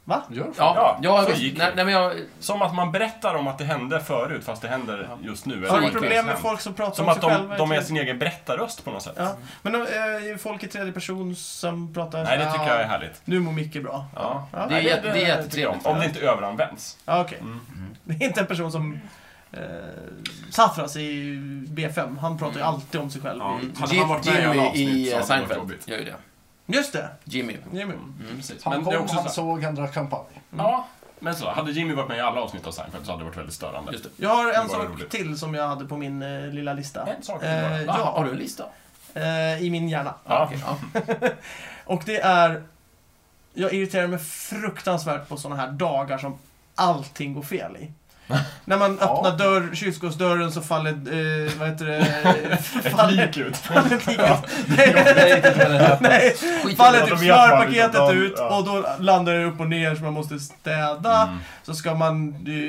S1: Va?
S4: Gör
S3: Ja,
S2: Ja,
S3: ja,
S2: så
S3: visst.
S2: gick
S3: nej,
S2: det.
S3: nej, men jag...
S2: Som att man berättar om att det hände förut, fast det händer just nu.
S1: Har
S2: Eller
S1: du
S2: någonting
S1: problem med
S2: hänt.
S1: folk som pratar
S2: Som
S1: om
S2: att
S1: sig
S2: de,
S1: själva?
S2: de är
S1: i
S2: sin egen berättarröst på något sätt.
S1: Ja. Men de, eh, folk i tredje person som pratar...
S2: Nej, det tycker
S1: Ja.
S2: jag är härligt.
S1: Nu mår Micke bra.
S2: Ja.
S1: Ja,
S3: Det är,
S1: nej,
S3: jätte- det är jättetrevligt.
S2: Om det inte överanvänds.
S1: Ja, okej.
S2: Mm.
S1: Det är inte en person som... Eh, Safras i B5, han pratar ju alltid om sig själv.
S2: Mm. Ja.
S1: i-
S2: Hade han varit med i alla
S3: Jimmy
S2: avsnitt så hade det
S3: i
S2: varit
S3: Seinfeld
S2: jobbigt.
S3: gör ju det.
S1: Just det!
S3: Jimmy.
S1: Jimmy.
S3: Mm, precis.
S4: Han
S2: Men
S4: kom,
S2: det är också
S4: han
S2: så-
S4: såg, han drack champagne.
S2: Ja, men så. Hade Jimmy varit med i alla avsnitt av Seinfeld så hade det varit väldigt störande.
S3: Just det.
S1: Jag har
S2: Det
S1: en
S2: var
S1: sak
S2: roligt.
S1: till som jag hade på min eh, lilla lista.
S2: En sak till bara.
S1: eh,
S3: Va? Har
S1: ja,
S3: du en lista?
S1: eh, I min hjärna.
S2: Ja.
S3: okej, ja.
S1: Och det är... Jag irriterar mig fruktansvärt på såna här dagar som allting går fel i. När man
S4: Ja.
S1: öppnar dörr, kylskåpsdörren så faller... Eh, vad heter det?
S2: Ett
S1: faller...
S2: lik ut.
S1: faller ett lik ut. Nej, Nej,
S3: Skit i
S1: faller
S2: Ja,
S1: typ
S2: de gör fan
S1: smörpaketet
S2: utan-
S1: ut
S2: ja.
S1: och då landar det upp och ner så man måste städa.
S2: Mm.
S1: Så ska man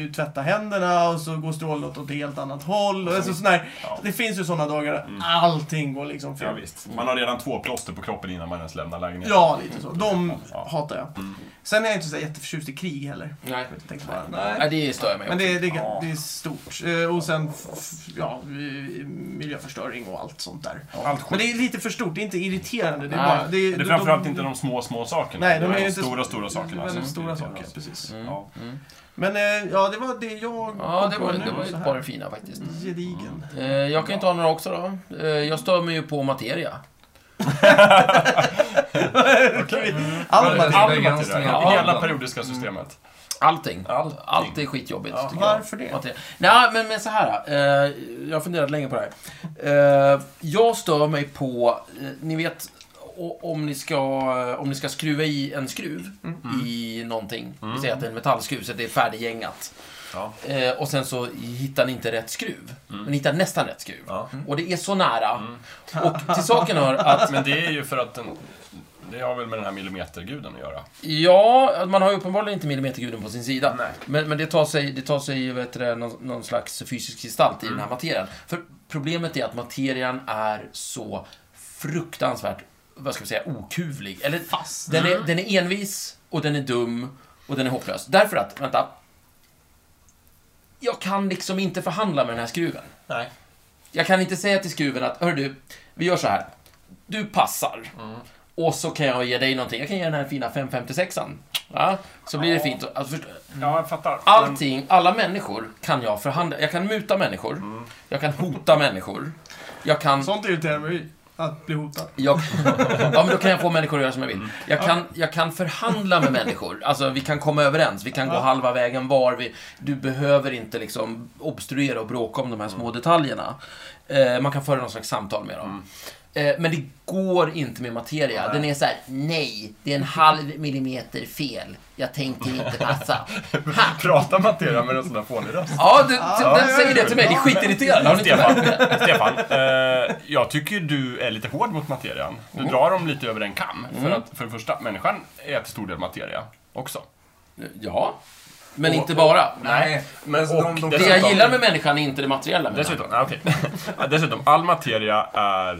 S1: eh, tvätta händerna och så går strålen åt ett helt annat håll. Och alltså, sån här,
S2: Ja. Mm.
S1: det finns ju såna dagar där allting går liksom
S2: Ja,
S1: fel.
S2: visst. Man har redan två plåster på kroppen innan man ens lämnar lägenheten.
S1: Ja, lite så. De
S2: Ja.
S1: hatar jag.
S2: Mm.
S1: Sen är jag inte så jätteförtjust i krig heller.
S3: Nej.
S1: Tänkte bara,
S3: nej, det stör jag mig
S1: Men
S3: också.
S1: det, det,
S2: Ja.
S1: det är stort. Eh, Och sen f- f- ja, eh, miljöförstöring och allt sånt där.
S2: Allt skit.
S1: Men det är lite för stort, det är inte irriterande. Det är
S3: Nej.
S1: bara, det,
S2: Det är framförallt inte de små, små sakerna.
S1: Nej, de
S2: det
S1: är
S2: är
S1: ju
S2: de
S1: inte-
S2: stora, stora
S1: det är
S2: sakerna.
S1: väldigt
S2: som
S1: stora
S2: irriterar
S1: saker,
S2: oss.
S1: precis.
S3: Mm.
S2: Ja.
S1: Men eh, ja, det var det jag
S3: Ja,
S1: kom
S3: det
S1: på
S3: var,
S1: nu,
S3: det var
S1: så
S3: ett
S1: här.
S3: par fina faktiskt.
S2: Mm.
S1: Gedigen.
S3: Eh, Jag kan ju ta några också då. Eh, Jag stör mig ju på materia.
S2: Okej.
S1: Allt
S2: Allt
S1: material.
S4: material.
S2: material.
S4: Ja.
S2: Hela periodiska systemet.
S3: Allting.
S2: Allting.
S3: Allt är skitjobbigt
S2: Ja,
S3: tycker jag.
S1: Varför det?
S3: Materia. Nej, men, men så här. Eh, jag har funderat länge på det här. Eh, jag stör mig på, eh, ni vet, o- om ni, ska, om ni ska skruva i en skruv i någonting. Vi säger att det är en metallskruv, så att det är färdiggängat.
S2: Ja.
S3: Eh, och sen så hittar ni inte rätt skruv. Men ni hittar nästan rätt skruv.
S2: Ja.
S3: Och det är så nära. Och till saken hör att
S2: Men det är ju för att den... Det har väl med den här millimeterguden att göra.
S3: Ja, man har ju uppenbarligen inte millimeterguden på sin sida.
S2: Nej.
S3: Men, men det tar sig, det tar sig vet du, det, någon, någon slags fysisk gestalt i den här materian. För problemet är att materian är så fruktansvärt, vad ska vi säga, okuvlig. Eller,
S1: Fast.
S3: den, är, den är envis, och den är dum, och den är hopplös. Därför att, vänta. Jag kan liksom inte förhandla med den här skruven.
S2: Nej.
S3: Jag kan inte säga till skruven att, hör du, vi gör så här. Du passar. Och så kan jag ge dig någonting. Jag kan ge den här fina 556an. Ja, så blir det fint. Alltså, först-
S2: Ja, jag fattar.
S3: Ah, Allting, alla människor kan jag förhandla. Jag kan muta människor. Jag kan hota människor. Jag kan...
S1: Sånt irriterar mig. att bli hotad.
S3: Jag, ja, men då kan jag få människor att göra som jag vill. Jag kan, jag kan förhandla med människor. Alltså, vi kan komma överens. Vi kan gå halva vägen var. Vi, du behöver inte liksom obstruera och bråka om de här små detaljerna. Eh, man kan föra någon slags samtal med dem. Eh, men det går inte med materia. Den är så här, nej, det är en halv millimeter fel. Jag tänker inte passa. Ha!
S2: Pratar Materia med en sån där fånig röst?
S3: Ja, du,
S1: ja,
S3: den
S1: ja,
S3: säger det till mig. Det är skitirriterande. Har ni inte
S2: Stefan,
S3: märkt det?
S2: Stefan eh, jag tycker du är lite hård mot materian. Du drar dem lite över en kam. För att, för det första, människan är till stor del materia också.
S3: Ja, men inte bara.
S4: Nej, men så
S2: Och
S4: de, de,
S2: det
S3: Det
S2: Dessutom-
S3: jag gillar med människan är inte det materiella. menar jag.
S2: Dessutom, ah, okej. Ja, Dessutom all materia är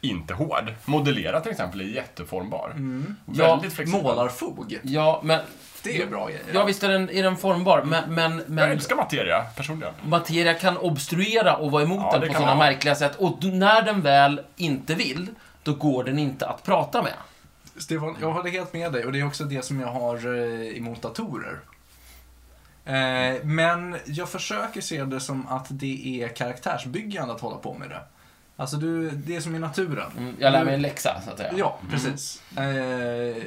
S2: inte hård. Modellera till exempel är jätteformbar.
S3: Ja,
S2: Väldigt flexibel.
S4: Målarfog.
S3: Ja, men...
S4: Det är bra grejer.
S3: Ja, visst är den, är den formbar, men, men,
S2: Jag
S3: men
S2: älskar materia personligen.
S3: materia kan obstruera och vara emot
S2: Ja, det
S3: den på
S2: kan
S3: sådana
S2: man.
S3: märkliga sätt. Och d- när den väl inte vill, då går den inte att prata med.
S4: Stefan, jag håller helt med dig och det är också det som jag har eh, emot datorer. Eh, men jag försöker se det som att det är karaktärsbyggande att hålla på med det. Alltså, du, det är som i naturen.
S3: Mm, Jag lär
S4: Du-
S3: mig Mm. en läxa, så att säga.
S4: Ja, precis. Eh,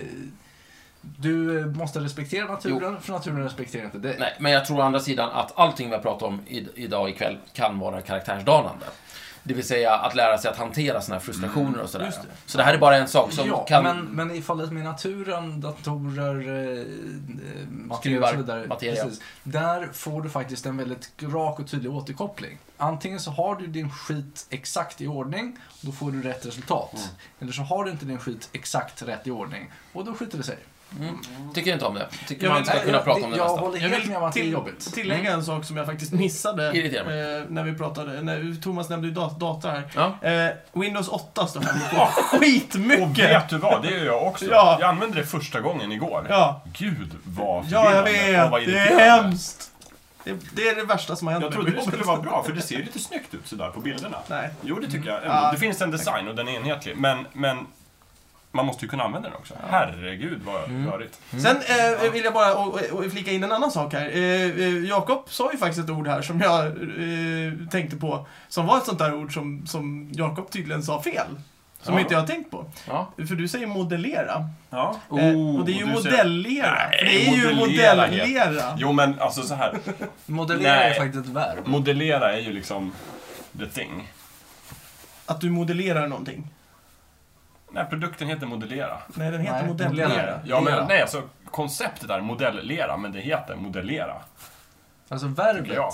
S4: du måste respektera naturen, för naturen respekterar inte dig.
S3: Nej, men jag tror å andra sidan att allting vi har pratat om i, idag ikväll kan vara karaktärsdanande. Det vill säga att lära sig att hantera sina frustrationer och sådär.
S1: just det.
S3: Så det här är bara en sak som
S4: ja,
S3: kan...
S4: men, men i fallet med naturen, datorer, eh, material och
S3: Skruvar,
S4: så vidare.
S3: materia.
S4: Precis, där får du faktiskt en väldigt rak och tydlig återkoppling. Antingen så har du din skit exakt i ordning, då får du rätt resultat.
S3: Mm.
S4: Eller så har du inte din skit exakt rätt i ordning, och då skiter det sig.
S3: Tycker inte om det. Tycker
S1: Jag
S3: man
S1: vill-
S3: ska
S1: nej,
S3: kunna
S4: jag-
S3: prata om det
S4: jag
S3: mesta.
S4: håller-
S1: Jag
S4: Helt
S1: vill
S4: med om att det är
S1: till,
S4: jobbigt.
S1: tillägga en sak som jag faktiskt missade
S3: Irriterar
S1: eh, när vi pratade. När, Thomas nämnde ju dat- data här.
S3: Ja.
S1: Eh, Windows 8 står här på. Skitmycket!
S2: Och vet du vad? Det gör jag också.
S1: Ja.
S2: Jag använde det första gången igår.
S1: Ja.
S2: Gud vad
S1: ja, jag
S2: förvirrande och vad
S1: vet. Det är
S2: irriterande.
S1: hemskt. Det, det är det värsta som har hänt
S2: Jag
S1: mig.
S2: trodde det skulle vara bra, Mm. för det ser ju lite snyggt ut sådär på bilderna.
S1: Nej.
S2: Jo, det tycker jag. ändå.
S1: Ja.
S2: Det finns en design och den är enhetlig, men, men man måste ju kunna använda den också. Herregud vad
S1: Mm.
S2: rörigt.
S1: Sen eh, vill jag bara och, och och flika in en annan sak här. Eh, eh, Jakob sa ju faktiskt ett ord här som jag eh, tänkte på. Som var ett sånt där ord som, som Jakob tydligen sa fel. Som
S2: Ja.
S1: inte jag har tänkt på.
S3: Ja.
S1: För du säger modellera.
S2: Ja.
S1: eh, och det är ju
S2: Oh, du säger-
S1: modellera.
S2: Nej,
S1: För det är ju
S2: modellera
S1: modellera.
S2: Jo, men alltså så här.
S4: Modellera
S2: Nej.
S4: är faktiskt ett verb.
S2: Modellera är ju liksom the thing.
S1: Att du modellerar någonting.
S2: Nej, produkten heter modellera.
S1: Nej, den heter
S4: Nej,
S1: modellera.
S4: modellera.
S2: Ja,
S4: Lera.
S2: men, nej, alltså konceptet är modellera, men det heter modellera.
S4: Alltså
S2: Ja.
S4: verbet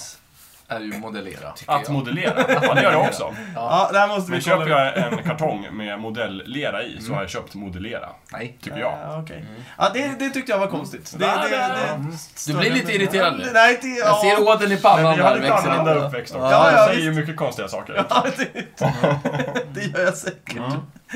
S4: är ju modellera.
S2: Att modellera, ja det gör jag också.
S1: Ja, det här måste vi
S2: Men
S1: kolla.
S2: köper jag en kartong med modelllera i så har jag köpt modellera,
S4: Nej.
S2: tycker jag.
S1: Ja, okej.
S3: Mm.
S1: ja det, det tyckte jag var konstigt. Det, det, det,
S3: Du blir lite irriterad nu.
S1: Nej, det,
S3: Jag
S1: ja.
S3: ser ådern i pannan
S2: Men vi har
S3: där
S2: lite
S3: växer
S2: annorlunda
S3: upp.
S2: uppväxt också.
S1: Ja, ja,
S2: Jag säger ju
S1: visst.
S2: mycket konstiga saker.
S1: Ja, det, det gör jag säkert.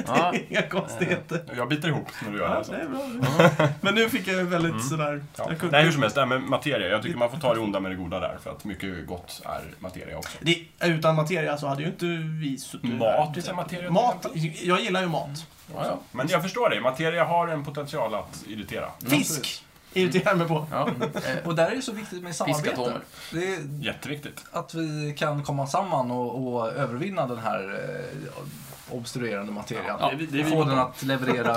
S3: Ja.
S1: Inga konstigheter.
S2: Jag biter ihop när du gör det.
S1: Ja,
S2: Alltså.
S1: det är bra. Men nu fick jag ju väldigt
S3: Mm.
S1: sådär...
S2: Ja.
S1: Jag kunde-
S2: Nej, hur som helst, det här med materia. Jag tycker man får ta det onda med det goda där, för att mycket gott är materia också.
S1: det, utan materia så hade ju inte vi suttit
S2: Mat
S1: här.
S2: är materia. till
S1: Mat.
S2: exempel.
S1: Jag gillar ju
S3: Mm.
S1: mat.
S3: Ja, ja.
S2: Men jag förstår dig, materia har en potential att irritera.
S1: Fisk irriterar mig på.
S3: Ja.
S4: Eh, Och där är det så viktigt med
S3: Fiskatomer.
S4: samarbete. Det är,
S2: Jätteviktigt.
S4: att vi kan komma samman och, och övervinna den här eh, obstruerande materian.
S3: Ja,
S2: det är vi- det är vi
S4: Få
S2: mot
S4: den att leverera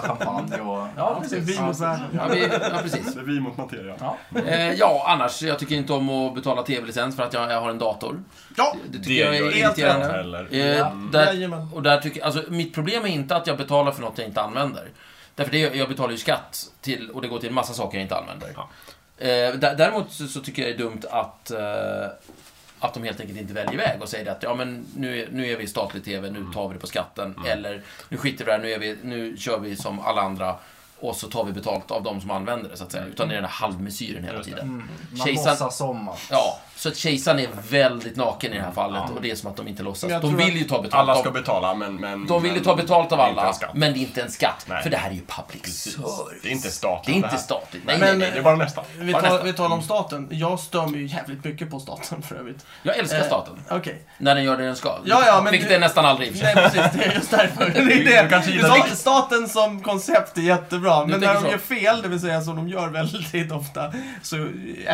S4: champagne och... Ja,
S1: Vi mot världen.
S3: Ja, vi, ja, precis.
S2: Det är vi mot materia.
S4: Ja.
S3: Eh, ja, annars, jag tycker inte om att betala tv-licens för att jag, jag har en dator.
S1: Ja,
S3: Det
S2: Det
S3: tycker
S2: gör
S3: jag är
S2: jag
S3: irriterande.
S2: inte heller.
S3: Eh, där,
S1: jajamän.
S3: och där tycker, alltså, mitt problem är inte att jag betalar för något jag inte använder. Därför det, jag betalar ju skatt till, och det går till en massa saker jag inte använder.
S2: Ja.
S3: Eh, dä- däremot så, så tycker jag det är dumt att, eh, att de helt enkelt inte väljer väg och säger att ja, men nu, är- nu är vi i statlig TV,
S2: Mm.
S3: nu tar vi det på skatten. Eller nu skiter vi i det här, nu, är vi, nu kör vi som alla andra. Och så tar vi betalt av de som använder det, så att säga. Utan det är den här halvmesyren hela
S2: Mm. Just det.
S3: tiden.
S4: Man
S3: Kejsar-
S4: låtsas som att...
S3: Ja, så att kejsaren är väldigt naken i det här fallet och det är som att de inte
S1: Men
S3: låtsas.
S1: jag
S3: De
S1: tror
S3: vill ju ta betalt.
S2: Alla
S3: av-
S2: ska betala, men... men
S3: de vill ju
S2: men-
S3: ta betalt av
S2: det är inte en
S3: alla,
S2: skatt.
S3: men det är inte en skatt.
S2: Nej.
S3: För det här är ju public
S2: Precis.
S3: service.
S2: Det är inte staten
S3: Det är inte
S2: här.
S3: statligt. Nej,
S1: Men-
S3: nej,
S2: Det är
S3: nej.
S2: bara nästa.
S1: Vi, tar, vi talar om staten. Jag stör mig ju jävligt mycket på staten för övrigt.
S3: Jag älskar
S1: Eh,
S3: staten.
S1: Okej.
S3: När den gör det den ska.
S1: Ja, ja, men
S3: Vilket
S1: du-
S3: är nästan aldrig i och för sig.
S1: Nej, precis. Det är just därför. Det är
S2: Du kanske
S1: det.
S2: gillar
S1: Sta-
S2: Nick.
S1: Staten som koncept är bra.
S3: Du
S1: Men när
S3: tänker
S1: de
S3: så.
S1: gör fel, det vill säga som de gör väldigt ofta, så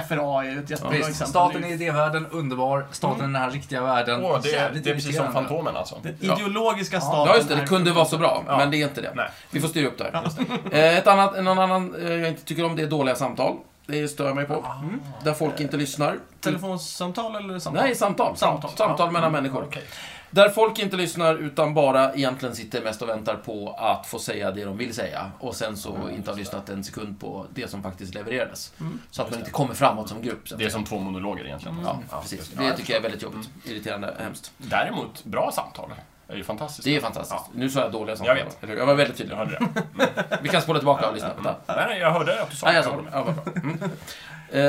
S1: FRA är ju ett jättebra
S3: visst.
S1: exempel.
S4: Staten i idévärlden, underbar. Staten i den här riktiga världen,
S2: Mm. Åh, det, är-
S4: jävligt
S2: det är precis som
S4: irriterande.
S2: Fantomen alltså.
S1: Den
S3: Ja.
S1: ideologiska staten.
S3: Ja, just det.
S1: är-
S3: Det kunde vara så bra,
S2: Ja.
S3: men det är inte det.
S2: Nej.
S3: Vi får styra upp det här. Eh, Ett annat, en annan eh, jag inte tycker om, det är dåliga samtal. Det stör jag mig på. Där folk inte lyssnar.
S1: Telefonsamtal eller samtal?
S3: Nej, samtal.
S1: Samtal.
S3: Samtal, mellan människor.
S2: Mm. Okej.
S3: Där folk inte lyssnar utan bara egentligen sitter mest och väntar på att få säga det de vill säga och sen så
S2: Mm.
S3: inte har lyssnat en sekund på det som faktiskt levererades. Så att man inte kommer framåt som grupp. Så att
S2: Det är
S3: säga.
S2: som två monologer egentligen.
S3: Ja,
S2: Ja,
S3: Mm,
S2: Mm.
S3: precis.
S2: just
S3: Det tycker jag är väldigt jobbigt. Irriterande, hemskt.
S2: Däremot, bra samtal är ju fantastiskt.
S3: Det är fantastiskt. Nu sa jag dåliga
S2: Jag
S3: samtal.
S2: vet.
S3: eller hur? jag var väldigt
S2: Jag
S3: tydlig.
S2: hörde det. Mm.
S3: Vi kan spola tillbaka och lyssna på det.
S2: Nej, nej, jag hörde att du sa
S3: Nej, jag sa det. Ja, vad bra. Mm. Eh,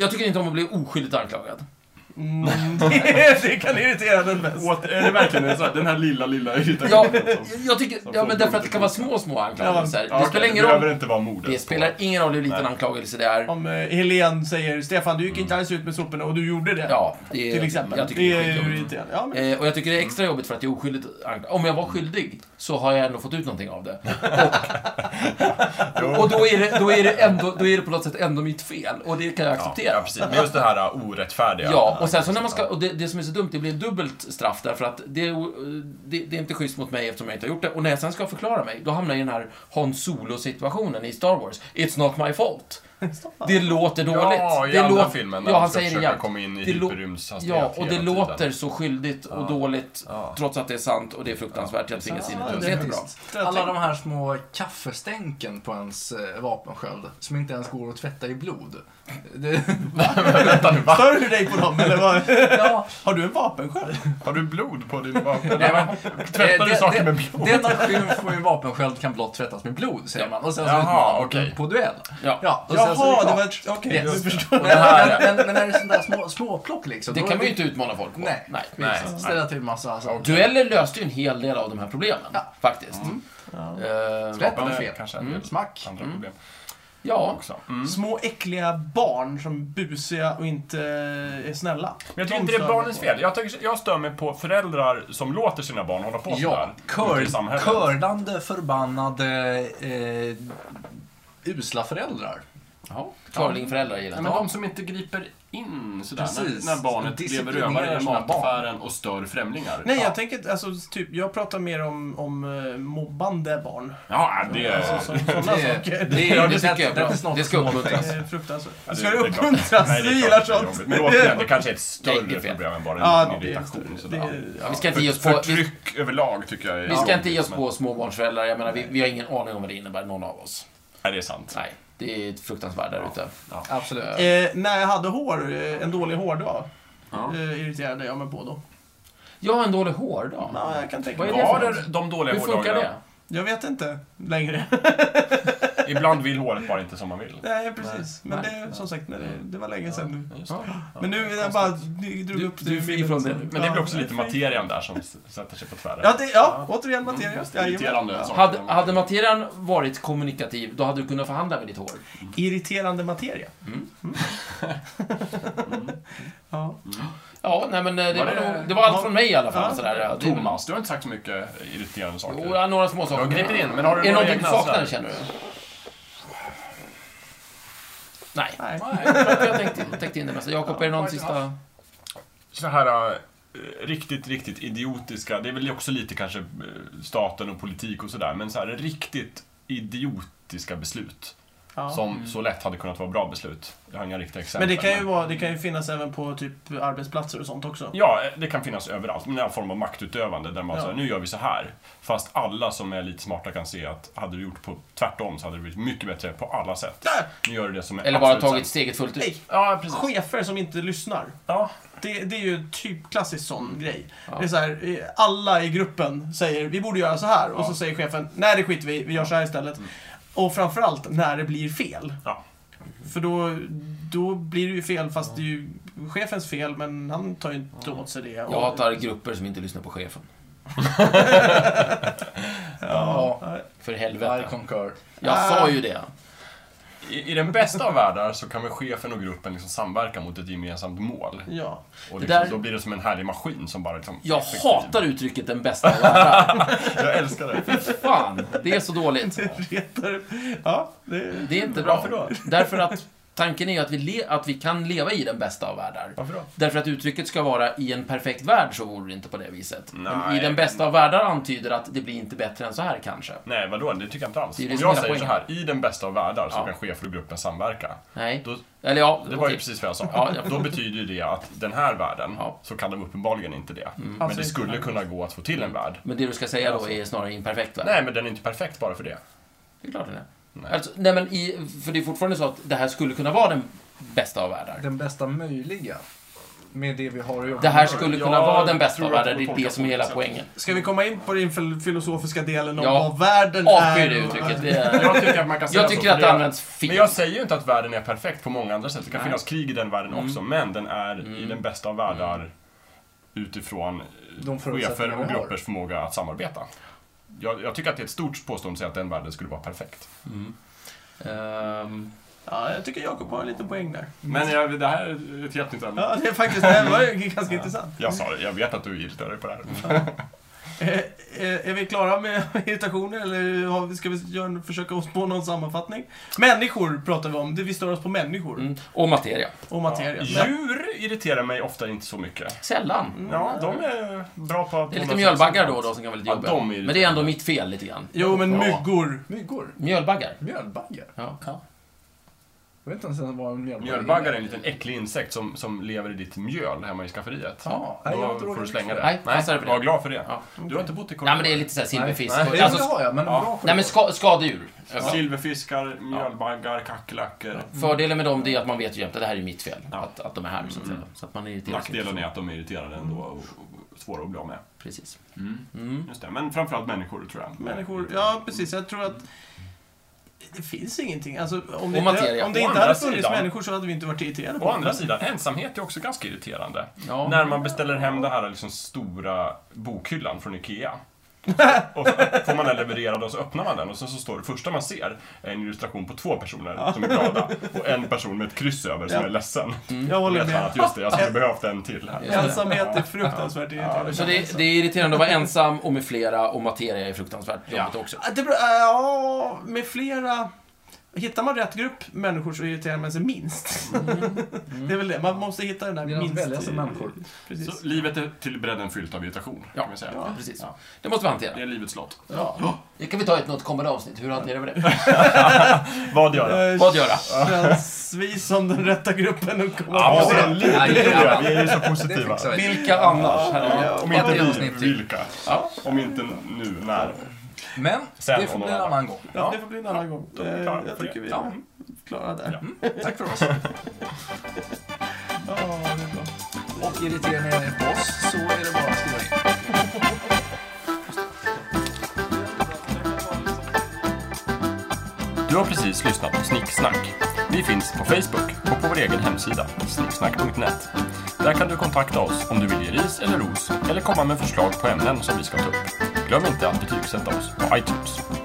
S3: jag tycker inte om att bli oskyldigt anklagad.
S1: Mm, det, det kan irritera den mest.
S2: Åt- Är det verkligen en sån här, den här lilla, lilla ytan?
S3: Ja, jag tycker, ja, men därför att det kan vara små, små anklagelser.
S2: Ja,
S3: Det
S2: okej,
S3: spelar ingen
S2: behöver
S3: roll.
S2: inte vara mordet.
S3: Det spelar ingen roll hur liten
S2: Nej.
S3: anklagelse det är.
S1: Om eh, Helene säger Stefan, du gick inte alls ut med soporna och du gjorde det.
S3: Ja, det är,
S1: till exempel.
S3: Jag tycker
S1: det
S3: det
S1: är ju
S3: är skitjobbigt.
S1: irriterande. Ja, men,
S3: Eh, och jag tycker det är extra jobbigt för att jag är oskyldigt anklagad. Om jag var skyldig så har jag ändå fått ut någonting av det.
S2: Jo.
S3: Och, och då, är det, då, är det ändå, då är det på något sätt ändå mitt fel. Och det kan jag
S2: Ja,
S3: acceptera.
S2: ja, precis. Men just det här uh, orättfärdiga.
S3: Ja, och sen så när man ska, och det, det som är så dumt, det blir dubbelt straff därför att det, är o- det, det är inte schysst mot mig eftersom jag inte har gjort det. Och när jag sen ska förklara mig, då hamnar jag i den här Han Solo-situationen i Star Wars. It's not my fault. Det låter dåligt.
S2: Ja, i
S3: det
S2: andra
S3: låt-
S2: filmen när
S3: Ja,
S2: han
S3: han
S2: ska
S3: säger det
S2: försöka
S3: jämt.
S2: komma in i
S3: Det lå-
S2: hyperrymdshastighet
S3: Ja, och det
S2: hela tiden.
S3: låter så skyldigt och dåligt
S2: Ja.
S3: trots att det är sant och det är fruktansvärt. Jag tvingas in i
S1: Ja,
S3: det.
S1: det
S3: Det
S1: är
S3: är jättebra.
S1: visst.
S4: Alla de här små kaffestänken på ens eh, vapensköld som inte ens går att tvätta i blod. Det,
S2: Vänta nu, va?
S1: Stör du dig på dem eller vad?
S4: ja,
S1: Har du en vapensköld?
S2: Har du blod på din vapen?
S4: Nej, men-
S2: Tvättar du
S4: Eh,
S2: saker
S4: det-
S2: med blod?
S4: denna skymf på min vapensköld kan blott tvättas med blod, säger man. Och sen så
S2: Jaha,
S4: utmanar man
S2: okej.
S4: på duell.
S3: Ja.
S4: Ja, och sen så är
S1: Jaha, det
S4: klart.
S1: var... ett- Okej,
S4: Yes.
S1: nu förstår
S4: Men,
S3: det här-
S4: men, men, men är det sånt där små, småplock liksom?
S3: Det
S4: då
S3: kan
S4: är
S3: man ju inte utmana folk på.
S4: Nej,
S3: Nej.
S2: Nej.
S4: precis. Ställa till massa... Alltså,
S3: Dueller löste ju en hel del av de här problemen,
S4: Ja.
S3: faktiskt.
S2: Mm.
S1: jag.
S3: Eh,
S4: Rätt eller
S2: Skapade
S4: fel?
S2: Kanske en del
S4: Smack.
S2: andra
S3: Mm.
S2: problem
S3: ja,
S2: också. Mm.
S1: Små äckliga barn som är busiga och inte eh, är snälla.
S2: Men jag tycker inte det är barnens fel. Jag, tycker, jag stör mig på föräldrar som låter sina barn hålla på
S4: Ja,
S2: sådär. ute i
S4: kör,
S2: samhället.
S4: kördande förbannade eh, usla föräldrar.
S3: Jaha. Klarlingföräldrar gillar
S2: Nej,
S3: det.
S2: men de som inte griper in sådär
S4: Precis.
S2: när, när barnet lever
S4: Disciplinerar
S2: rövare i
S4: sina barn.
S2: mataffären och stör främlingar.
S1: Nej, jag tänker alltså, typ, jag pratar mer om, om eh, mobbande barn.
S2: Ja, det är...
S1: Alltså, så, sådana saker. Det,
S3: Ja, det tycker jag är bra.
S4: är snart
S3: Det ska
S4: små
S3: uppmuntras.
S1: är fruktansvärt.
S2: Ja,
S1: Ska
S2: det
S1: det
S2: är klart.
S1: uppmuntras?
S2: Nej,
S1: Du
S2: är
S1: gillar
S2: klart det är
S1: sånt?
S2: jobbigt. Men återigen, det kanske är ett större
S3: Nej, det är fel.
S2: problem än bara en
S1: Ja,
S2: liten
S1: det är
S2: irritation.
S1: det.
S2: sådär.
S1: är-
S3: Vi ska inte ge oss på... Vi,
S2: Förtryck överlag tycker jag är
S3: vi ska inte ge
S2: jobbigt,
S3: oss
S2: men-
S3: på småbarnsföräldrar. Jag menar, vi, vi har ingen aning om vad det innebär, någon av oss.
S2: Nej, det är sant.
S3: Nej, det är ett fruktansvärt där ute.
S4: Absolut.
S1: Eh, när jag hade hår, eh, en dålig hårdag,
S2: Ja.
S1: eh, irriterade jag mig på då.
S3: Jag har en dålig hårdag.
S1: Ja, jag kan tänka
S3: Vad är
S1: mig.
S3: det för
S2: Var
S1: Ja,
S3: något?
S2: det de dåliga
S3: Hur funkar det?
S2: hårdagarna?
S1: Jag vet inte längre.
S2: Ibland vill håret bara inte som man vill.
S1: Nej, precis. Men
S3: Nej.
S1: det, som sagt, nej, det, det var länge sedan nu.
S2: Just
S3: Ja.
S2: det.
S1: Men nu är jag bara du, drog
S3: Du-
S1: upp
S3: du är
S1: ur
S3: fri
S1: minnet
S3: från
S1: så.
S3: det nu.
S2: Men det blir också
S1: Ja,
S2: lite
S1: jag är fri.
S2: materian där som s- sätter sig på tvären.
S1: Ja, det, ja, återigen materia. just det. Jajamän.
S2: Mm. Irriterande
S1: Ja.
S2: saker.
S3: Hade, hade materian varit kommunikativ, då hade du kunnat förhandla med ditt hår.
S1: Irriterande materia.
S2: Mm.
S1: Mm. ja.
S3: Ja, nej men eh, det
S2: Var
S3: var,
S2: det-
S3: nog- det var allt
S1: var-
S3: från mig i alla fall.
S1: Ja.
S3: Sådär. Ja, det-
S2: Thomas, du har inte sagt så mycket irriterande saker.
S3: Jo, ja, några små
S2: jag
S3: saker.
S2: har gripit in, men har du
S3: Är det
S2: några
S3: någonting du
S2: egna
S3: saknar,
S2: sådär?
S3: känner du? Nej.
S1: Nej.
S3: Jag har tänkt, tänkt in det mesta. Jakob, är det någon
S2: Ja.
S3: sista...
S2: Så här eh, riktigt, riktigt idiotiska, det är väl också lite kanske eh, staten och politik och sådär, men så här riktigt idiotiska beslut.
S1: Ja. Mm.
S2: Som så lätt hade kunnat vara bra beslut. Jag har inga riktiga exempel.
S1: Men det kan, ju vara, det kan ju finnas även på typ arbetsplatser och sånt också.
S2: Ja, eh, det kan finnas överallt. Men någon form av maktutövande där man
S1: Ja.
S2: säger nu gör vi så här. Fast alla som är lite smarta kan se att hade du gjort på tvärtom så hade det blivit mycket bättre på alla sätt. Nu gör du det som är
S3: Eller bara
S2: absolut
S3: tagit
S2: sämst.
S3: steget fullt
S1: Nej,
S3: ut.
S2: Ja, precis.
S1: chefer som inte lyssnar.
S2: Ja.
S1: Det, det är ju typ klassisk sån grej. Det är så här, eh, alla i gruppen säger vi borde göra så här och så säger chefen nej det skiter vi i, vi gör så här istället.
S2: Mm.
S1: Och framförallt när det blir fel.
S2: Ja.
S1: För då, då blir det ju fel fast det är ju chefens fel men han tar ju inte åt sig det.
S3: Jag hatar grupper som inte lyssnar på chefen.
S4: Ja,
S3: För
S4: I
S3: helvete.
S4: concur.
S2: Ah.
S3: Jag sa ju det.
S2: I, I den bästa av världar så kan väl chefen och gruppen liksom samverka mot ett gemensamt mål.
S1: Ja.
S2: Och
S3: Det
S2: liksom,
S3: där-
S2: då blir det som en härlig maskin som bara liksom...
S3: Jag
S2: effektiv.
S3: hatar uttrycket den bästa av alla.
S2: Jag älskar det.
S3: Fan, det är så dåligt.
S1: Retar... Ja, det...
S3: Det är inte bra.
S1: Varför då?
S3: Därför att tanken är ju att vi, le- att vi kan leva i den bästa av världar.
S2: Varför då?
S3: Därför att uttrycket ska vara i en perfekt värld så vore det inte på det viset. Men
S2: Nej.
S3: i den bästa av världar antyder att det blir inte bättre än så här kanske.
S2: Nej, vadå? Det tycker jag inte alls.
S3: Det är
S2: Om
S3: det som
S2: jag
S3: är
S2: säger så
S3: hela
S2: här, i den bästa av världar så
S3: Ja.
S2: kan chefer och gruppen samverka.
S3: Nej.
S2: Då,
S3: Eller ja,
S2: det var ju
S3: okej.
S2: precis vad jag sa.
S3: Ja, ja.
S2: Då betyder ju det att den här världen,
S3: Ja. Mm.
S2: så kan de uppenbarligen inte det. Men
S1: Alltså
S2: det
S1: inte
S2: skulle
S1: perfekt.
S2: kunna gå att få till en värld.
S3: Men det du ska säga då är snarare i en perfekt värld.
S2: Alltså- Nej, men den är inte perfekt bara för det.
S3: Det är klart den är. Nej.
S2: Nej.
S3: Alltså, nej men i, för det är fortfarande så att det här skulle kunna vara den bästa av världar.
S4: Den bästa möjliga. Med det vi har att göra.
S3: Det här skulle
S2: Jag
S3: kunna vara den bästa
S2: tror
S3: av
S2: att
S3: världar,
S2: det
S3: det är
S2: tolkas
S3: det som är
S2: på
S3: hela
S2: olika
S3: poängen.
S1: Ska vi komma in på den fil- filosofiska delen om
S3: Ja.
S1: vad världen
S3: Avskyr
S1: är?
S3: det
S1: och-
S3: uttrycket. Det är...
S2: Jag tycker att man kan säga
S3: Jag
S2: så,
S3: tycker
S2: för
S3: att det används
S2: Men
S3: fel.
S2: jag säger ju inte att världen är perfekt på många andra sätt. Det kan
S3: Nej. Mm.
S2: finnas krig i den världen också, men den är i den bästa av världar utifrån eh,
S4: De förutsättningar
S2: chefer
S4: vi
S2: och
S4: har.
S2: gruppers förmåga att samarbeta. Jag, jag tycker att det är ett stort påstående att säga att den världen skulle vara perfekt.
S3: Mm. Ehm,
S1: Ja, jag tycker Jakob har en liten poäng där.
S3: Mm.
S2: Men jag, det här är ett jättenytt ämne.
S1: Ja, det är faktiskt, det här var ju ganska intressant.
S2: Jag sa det, jag vet att du irriterar dig på det
S3: Mm.
S2: här.
S1: Eh, eh, är vi klara med irritationer eller har vi- ska vi göra, försöka oss på någon sammanfattning? Människor pratar vi om, det- vi stör oss på människor
S3: mm. Och materia.
S1: och materia. Men-
S2: Djur irriterar mig ofta inte så mycket.
S3: Sällan.
S2: Ja, de är bra på att...
S3: Det är lite
S2: hålla sig
S3: mjölbaggar då
S2: sällskap.
S3: och då som kan vara lite
S2: Ja,
S3: jobbiga.
S2: de är ju-
S3: Men det är ändå mitt fel lite grann.
S1: Jo, men
S2: Ja.
S1: myggor.
S4: Myggor?
S3: Mjölbaggar.
S4: Mjölbaggar?
S3: Ja.
S4: Jag vet inte ens vad en mjölbagge
S2: Mjölbaggar är en liten äcklig insekt som, som lever i ditt mjöl hemma i skafferiet.
S4: Ja, nej, jag har
S2: Då
S4: inte
S2: får du
S4: råkat
S2: slänga
S4: ut
S2: det.
S4: för
S3: det. Nej, passar det för
S2: var
S3: det.
S2: glad för det.
S3: Ja.
S2: Du har inte bott i
S3: Nej
S2: Korea?
S3: men det är lite såhär silverfisk.
S2: Nej.
S3: och-
S4: Nej, det
S3: Alltså,
S4: har jag, men
S2: ja.
S4: bra för
S3: nej men
S4: det.
S3: ska, skadedjur.
S2: Ja.
S3: Ja.
S2: Silverfiskar, mjölbaggar, kackerlackor.
S3: Fördelen med dem det är att man vet ju jämt att det här är mitt fel. Att, att de är här så att säga. Så att man är irriterad.
S2: Mm. Nackdelen är att de är irriterade ändå och och svåra att bli av med.
S3: Precis.
S2: Just det. Men framförallt människor, tror jag. Mm.
S1: Människor, ja precis. Jag tror att det finns ingenting. Alltså, om det,
S3: Och
S1: inte,
S3: materia.
S1: om det
S2: Å
S1: inte
S2: andra
S1: hade funnits
S2: sidan-
S1: människor så hade vi inte varit irriterade på
S2: Å
S1: dem.
S2: andra sidan, ensamhet är också ganska irriterande.
S3: Ja.
S2: När man beställer hem den här liksom stora bokhyllan från IKEA. och så får man den levererad och så öppnar man den och så, så står det första man ser är en illustration på två personer som är glada och en person med ett kryss över som
S1: Ja.
S2: är ledsen.
S1: Jag håller
S2: Vet man
S1: med.
S2: att just det, jag skulle behövt en till här.
S3: Ja.
S1: Ensamhet är fruktansvärt irriterande. Alltså.
S3: Så det, det är irriterande att vara ensam och med flera och materia är fruktansvärt jobbigt också.
S1: Ja, Det beror, ja, med flera... Hittar man rätt grupp människor så irriterar man sig minst.
S2: Mm.
S1: det är väl det, man måste hitta den där
S4: Det är något att
S1: minst...
S4: välja som människor.
S1: Precis.
S2: Så livet är till bredden fyllt av irritation,
S3: Ja.
S2: kan vi säga.
S1: Ja.
S3: Precis. Det måste vi hantera.
S2: Det är livets lott.
S1: Ja.
S3: Det kan vi ta i ett något kommande avsnitt. Hur hanterar vi det?
S2: Vad gör jag?
S1: Eh,
S3: Vad göra?
S1: Känns vi som den rätta gruppen att komma
S2: Ja,
S1: på?
S2: det är
S1: det.
S2: lite
S3: Nej,
S2: det.
S3: ja.
S2: Vi är ju så
S4: Det
S2: positiva.
S4: fixar vi.
S3: Vilka annars? Herregud.
S2: Om
S3: Ett
S2: inte
S3: avsnitt
S2: vi,
S3: till.
S2: vilka?
S3: Ja.
S2: Om inte nu, när?
S4: Men
S2: Sen
S4: det får
S2: om
S4: bli
S2: någon
S4: en
S2: annan.
S4: annan gång.
S1: Ja, det får bli en annan gång.
S2: Då är vi klara
S1: Eh, Jag
S2: för
S1: tycker
S2: det.
S1: vi
S2: Ja.
S1: är klara där.
S4: Tack för oss.
S1: Ja, det är bra.
S4: Och irriterar ni er på oss så är det bara att skriva in.
S2: Du har precis lyssnat på Snicksnack. Vi finns på Facebook och på vår egen hemsida, snicksnack.net. Där kan du kontakta oss om du vill ge ris eller ros eller komma med förslag på ämnen som vi ska ta upp. Glöm inte att betygsätta oss på iTunes.